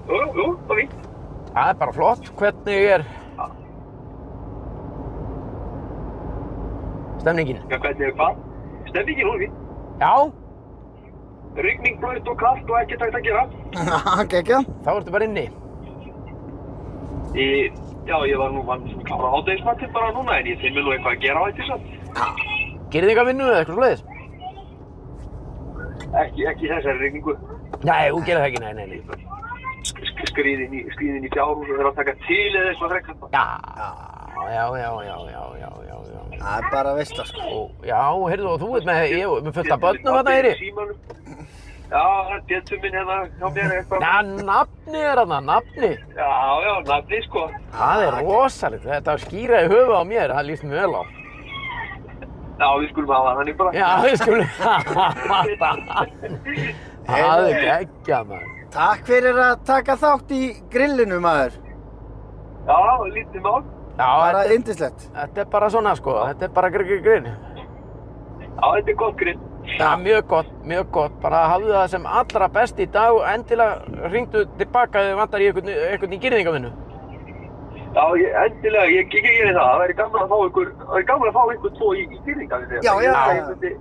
Jú, jú, jú, það var fínt. Það er bara flott, hvernig er stemningin? Já, hvernig er hvað? Stemmingin, hún er fín. Já, Rigning, blöðt og kallt og ekkert hægt að gera. Gekkja. þá ertu bara inni. Í, já, ég var nú mann sem klára hádegismatinn bara núna, en ég finn mér nú eitthvað að gera á þetta samt. Gerið þið eitthvað vinnu eða eitthvað svoleiðis? Ekki, ekki í þessari rigningu. Nei, þú gerir það ekki, nei, nei, nei. Sk- Skriðin í, skriðin í fjárhús og þeir að taka til eða eitthvað frekar. Já, já, já, já, já, já, já, já. Það er bara veistla sko. Ó, Já, heyrðu, og þú ert með, ég, er með fullt af börnum þarna, heyri. Já, betur minn hérna hjá mér eitthvað. Já, nafni er þarna, nafni. Já, já, nafni sko. Það er rosalegt, þetta skýraði höfuð á mér, það líst mjög vel á. Já, við skulum hafa hann í bara. Já, [LAUGHS] við skulum, það er geggjað maður. Takk fyrir að taka þátt í grillinu maður. [LAUGHS] Já, lítið mál. Já, Bara þetta, indislegt. þetta er bara svona sko, þetta er bara grinn, grinn, grinn. Já, þetta er gott grinn. Já, mjög gott, mjög gott, bara hafðu það sem allra best í dag og endilega ringdu tilbaka ef þið vantar í einhvern, einhvern í gyrðingavinnu. Já, ég, endilega, ég kikið í það. Það væri gaman að fá ykkur, það væri gaman að fá ykkur tvo í, í dýringafinni. Já, já, já. Ég myndi,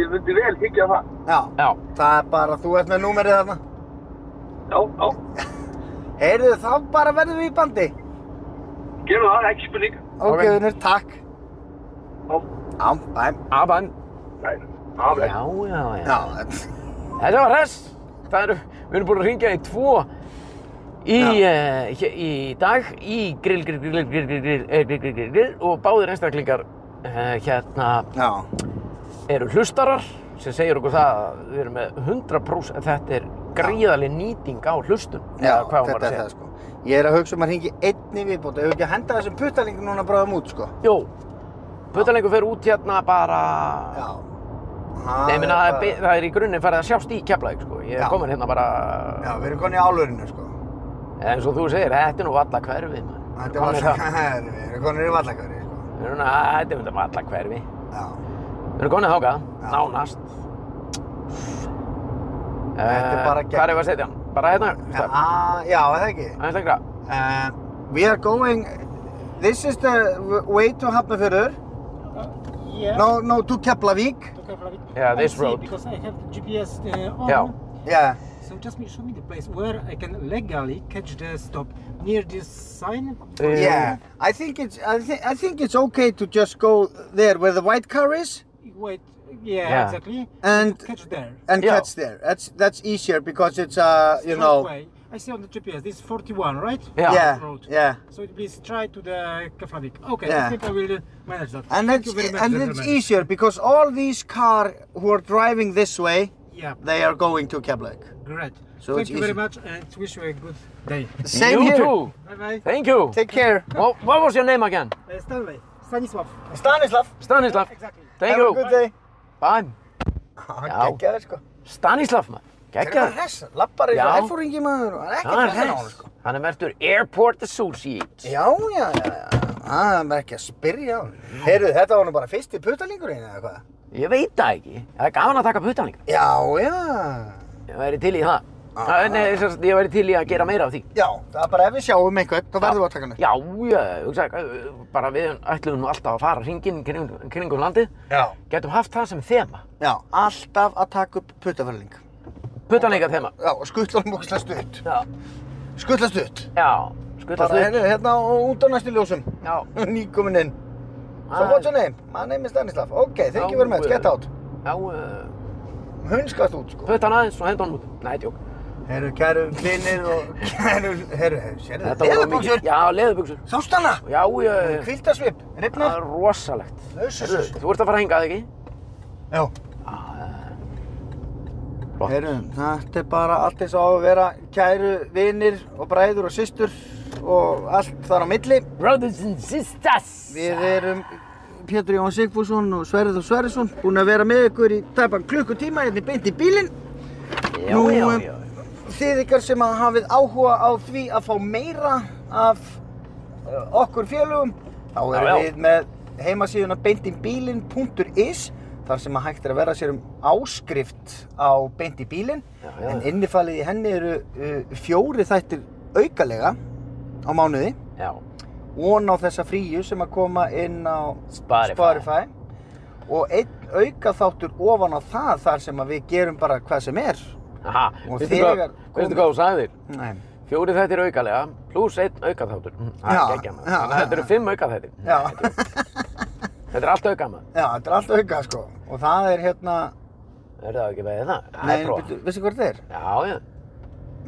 ég myndi vel higgja það. Já, Já, það er bara, þú ert með númerið þarna. Já, já, Heyrðu, þá bara verðum við í bandi. gerum það, ekki spurning. Ok, Ok. vinnur, takk. Já, Já, bæm. aban. nei, já, Já, vel. já, já. Já, þetta- Þetta var hress. Það eru, við erum búin að ringja í tvo í, uh, í dag í grill, grill, grill, grill, grill, grill, eh, grill, grill, grill, grill og báðir einstaklingar uh, hérna já. eru hlustarar sem segir okkur það að við erum með 100% þetta er gríðaleg nýting á hlustun. Já, eða hvað á maður þetta að er segja. það sko. Ég er að hugsa um að hringi einni viðbót. Ef við ekki að henda þessum puttalingur núna bráðum út sko. Jó, puttalengur fer út hérna bara... Já. Nei, er minna, það, er bara- be- það er í grunninn farið að sjást í Keflavík, sko. Ég Já. er komin hérna bara... Já, við erum konið í álurinu sko. En svo þú segir, þetta er nú valla hverfið, mann. Þetta var það. [LAUGHS] Við erum konið í vallakari sko. Þetta er nú valla hverfið. Já. Við erum komin þákað, Já. nánast. Þetta er bara Eh, Hvað er að setja hann? Bara hérna? Já, Ja. já, er það ekki. Aðeins lengra. Uh, we are going, this is the w- way to Hafnarfjörður. Uh, yeah. No, no, to Keflavík. to Keflavik. Yeah, I this see, road. Because I have the GPS uh, on. Yeah. Yeah. So just me- show me the place where I can legally catch the stop near this sign. Eh, Yeah. I think it's, I, th- I think it's okay to just go there where the white car is Wait, yeah, Yeah. exactly. And- catch there. and Yeah. catch there. That's, that's easier because it's, uh, you Straight know. Way. I see on the GPS. This is 41, right? Yeah. Yeah, Road. yeah. So it please try to the Keflavik. Okay, Yeah. I think I will uh, manage that. And Thank it's, you very much, and it's gentlemen. easier because all these car who are driving this way, Yeah, they are going to Keflavík. great. So it's Thank you very easy. much and wish you a good [LAUGHS] day. you Same here. too. Bye bye. Thank you. Take care. Well, what was your name again? Uh, Stanley, Stanisław. Stanislav. Stanislav. Exactly. Thank Have a you. good [LAUGHS] day. Bye. Já. Gekkjaður sko. Stanislav, mann. Þeir eru Gekkað. bara hressa, lappar eins Já. og erfóringi maður og það er Það er ekkert hressa á hann hess. sko. Hann er mertur Airport Associates. Já, já, já, já, það er bara ekki að spyrja á hann. Heyrðu, þetta var nú bara fyrsti putalingurinn eða hvað? Ég veit það ekki. Það er gaman að taka putan líka. Já, já, Ég væri til í það. Ah. Ah. Nei, sem sagt, ég væri til í að gera meira af því. já, það er bara ef við sjáum einhvern, þá verðum við að taka hann upp. Já, ég hugsa, bara við ætlum nú alltaf að fara hringinn kring, kringum landið. Já. Gætum haft það sem þema. Já, alltaf að taka upp putaförling. Putanleika þema. Já, og skuttla hann búinlega stutt. Já. Skuttla stutt. Já, Bara, skuttast upp. heyrðu, hérna og út á næstu ljósum. [LAUGHS] Já. Nýkomin inn. So Ah. what's your name? My name is Stanislav. Okay, thank you very much. Get out. Já, uh, Hunskast út sko. putan aðeins og henda hann út. Nei, tjók. Herru, kæru vinnir og kæru, herru, herru, sérðu það? Leðubuxur! Já, leðubuksur. Sást hana? Já, ég... Kvildarsvip, Það ripnar? er rosalegt. Jesus. Heyrðu, Þú ert að fara hingað, ekki? Já. Flott. Herru, þetta er bara allt eins og á að vera kæru vinnir og bræður og systur og allt þar á milli. Brothers and sisters. Við erum Pétur Jón Sigfússon og Sverrið og Sverrisson búin að vera með ykkur í tæpan klukkutíma hérna í beint í bílinn. Já, Nú, já, um, já. Þið ykkar sem að hafið áhuga á því að fá meira af uh, okkur félögum þá erum já. við með heimasíðuna beintinbílin.is þar sem að hægt er að vera sér um áskrift á beint í bílinn Já, já, en já. innifalið í henni eru uh, fjóri þættir aukalega á mánuði Já. von á þessa fríu sem að koma inn á Spotify. og einn auka þáttur ofan á það þar sem að við gerum bara hvað sem er Aha, Og veistu hvað, þegar- veistu hvað þú sagði þér? Nei. Fjóri þættir aukalega, pluss einn aukaþáttur. Mm, Það Já, er geggja maður. já, Þannig að Þetta eru já. fimm aukaþættir. Já. Þetta er allt auka maður. Já, þetta er allt auka sko og það er hérna, Er það ekki með það? Það nei, er prófa. byrju, veistu hvað þetta er? Já, já.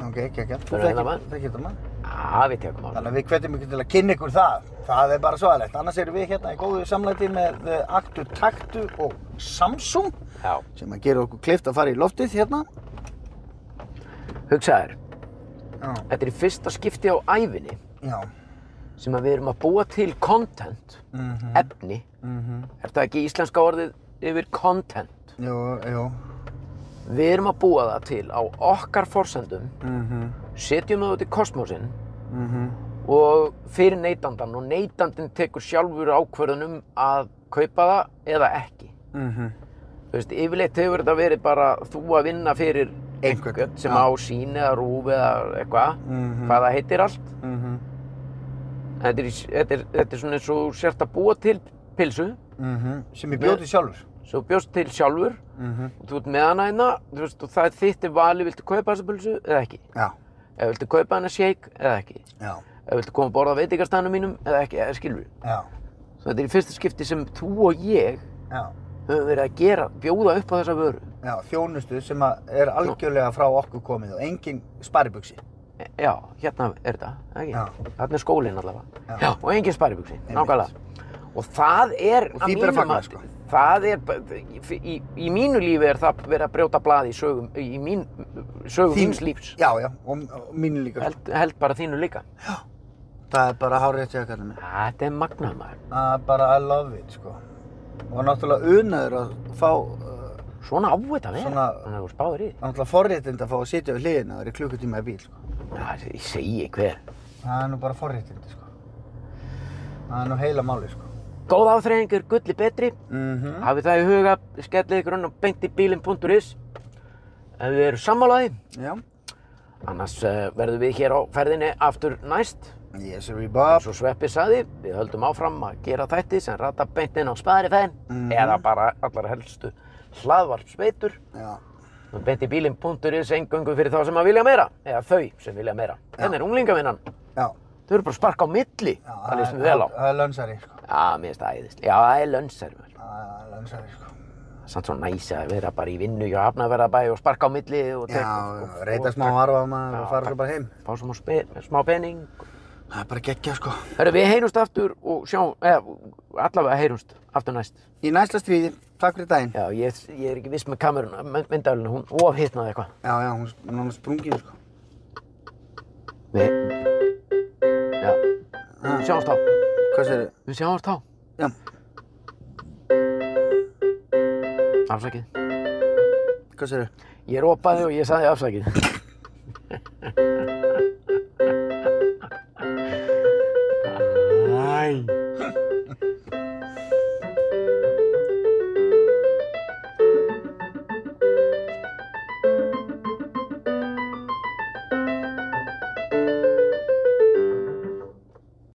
Ok, ekki, ekki, þú Hver er þekkir hérna maður? þekkir þetta maður? Já, Já, við tekum á Þannig að við hvetjum ykkur til að kynna ykkur það. Það er bara svo aðlegt. Annars erum við hérna í góðu samlæti með eh, Actu, Taktu og Samsung Já, sem að gera okkur kleift að fara í loftið hérna. hugsaður, Já. þetta er í fyrsta skipti á ævinni Já. sem að við erum að búa til content, Mhm. efni. Mhm. Er það ekki íslenska orðið yfir content? Jú, jú. Við erum að búa það til á okkar forsendum, Mhm. setjum það út í kosmosinn Mhm. og fyrir neytandan og neytandin tekur sjálfur ákvörðun um að kaupa það eða ekki. Mhm. Þú veist, yfirleitt hefur þetta verið bara þú að vinna fyrir Einhvern, einhvern sem já. á sín eða rúf eða eitthvað, Mhm. hvað það heitir allt. Mhm. Þetta er, í- þetta er, þetta er svona eins og þú sért að búa til pilsu, Mhm. Sem ég bjóti sjálfur. svo bjóst til sjálfur Mhm. og þú ert með hana hérna, þú veist, og það er þitt er valið, viltu kaupa þessa pilsu eða ekki? Já. Eða viltu kaupa hana shake eða ekki? Já. Eða viltu koma að borða á veitingastæðanum mínum eða ekki, eða skilur við? Já. Þetta er í fyrsta skipti sem þú og ég Já. höfum verið að gera, bjóða upp á þessa vöru. Já, þjónustu sem að er algjörlega frá okkur komið og engin sparibuxi. E- Já, hérna er þetta, ekki? Já. Þarna er skólinn allavega. Já. Já, og engin sparibugsi, nákvæmlega. Og það er Og að því ber að mínu fagna, mati- sko. Það er, b- í, í, í mínu lífi er það verið að brjóta blað í sögum, í mín, sögum Þín- míns lífs. Já, já, og, og mínu líka. Held, held bara þínu líka. Það er bara hárið eftir að kalla mig. Þetta er magnað maður. Það er Ah, bara I love it, sko. Og náttúrulega unaður að fá, uh, Svona á þetta að vera. Svona- Þannig að þú spáður í því. náttúrulega forréttind að fá að sitja við hliðina og vera í klukkutíma í bíl, sko. Já, ég segi hver. Það er nú bara forréttindi, sko. Það er nú heila máli, sko. Góð áþreying er gulli betri. Mhm. Hafið það í huga, skellið ykkur hann á beintibílinn.is. Ef þið eru sammálaði, Já. Annars uh, verðum við hér á ferðinni aftur næst. Yes, sir, Og Bob. svo Sveppi saði, við höldum áfram að gera þætti sem rata beint inn á spæðrifæðin Mhm. eða bara allar helstu hlaðvarpsveitur. Já. Beint í bílinn.is engöngu fyrir þá sem að vilja meira eða þau sem vilja meira. Þannig er unglingavinnan. Já. Þau eru bara að sparka á milli. Já, það líst mér vel á. Það er lönsari, sko. Já, mér finnst það æðislega. Já, það er lönnsar. Það er lönsari, sko. Samt svo næs að vera bara í vinnu hjá Hafnaverðabæ og sparka á milli og Já, og- og- reyta og- smá harfa maður Já, og fara takk. svo bara heim. Fá smá, spe, smá pening Það er bara geggja, sko. Hörru, við heyrumst aftur og sjáum, eða allavega heyrumst aftur næst. Í næsta stríði, takk fyrir daginn. Já, ég, ég er ekki viss með kameruna, myndavluna, hún ofhittnaði eitthvað. Já, já, hún er náttúrulega sprungin, sko. Við, já, við sjáumst á, Hvað segir þið? við sjáumst á, Já, afsakið. hvað segir þið? Ég ropaði og ég saði afsakið.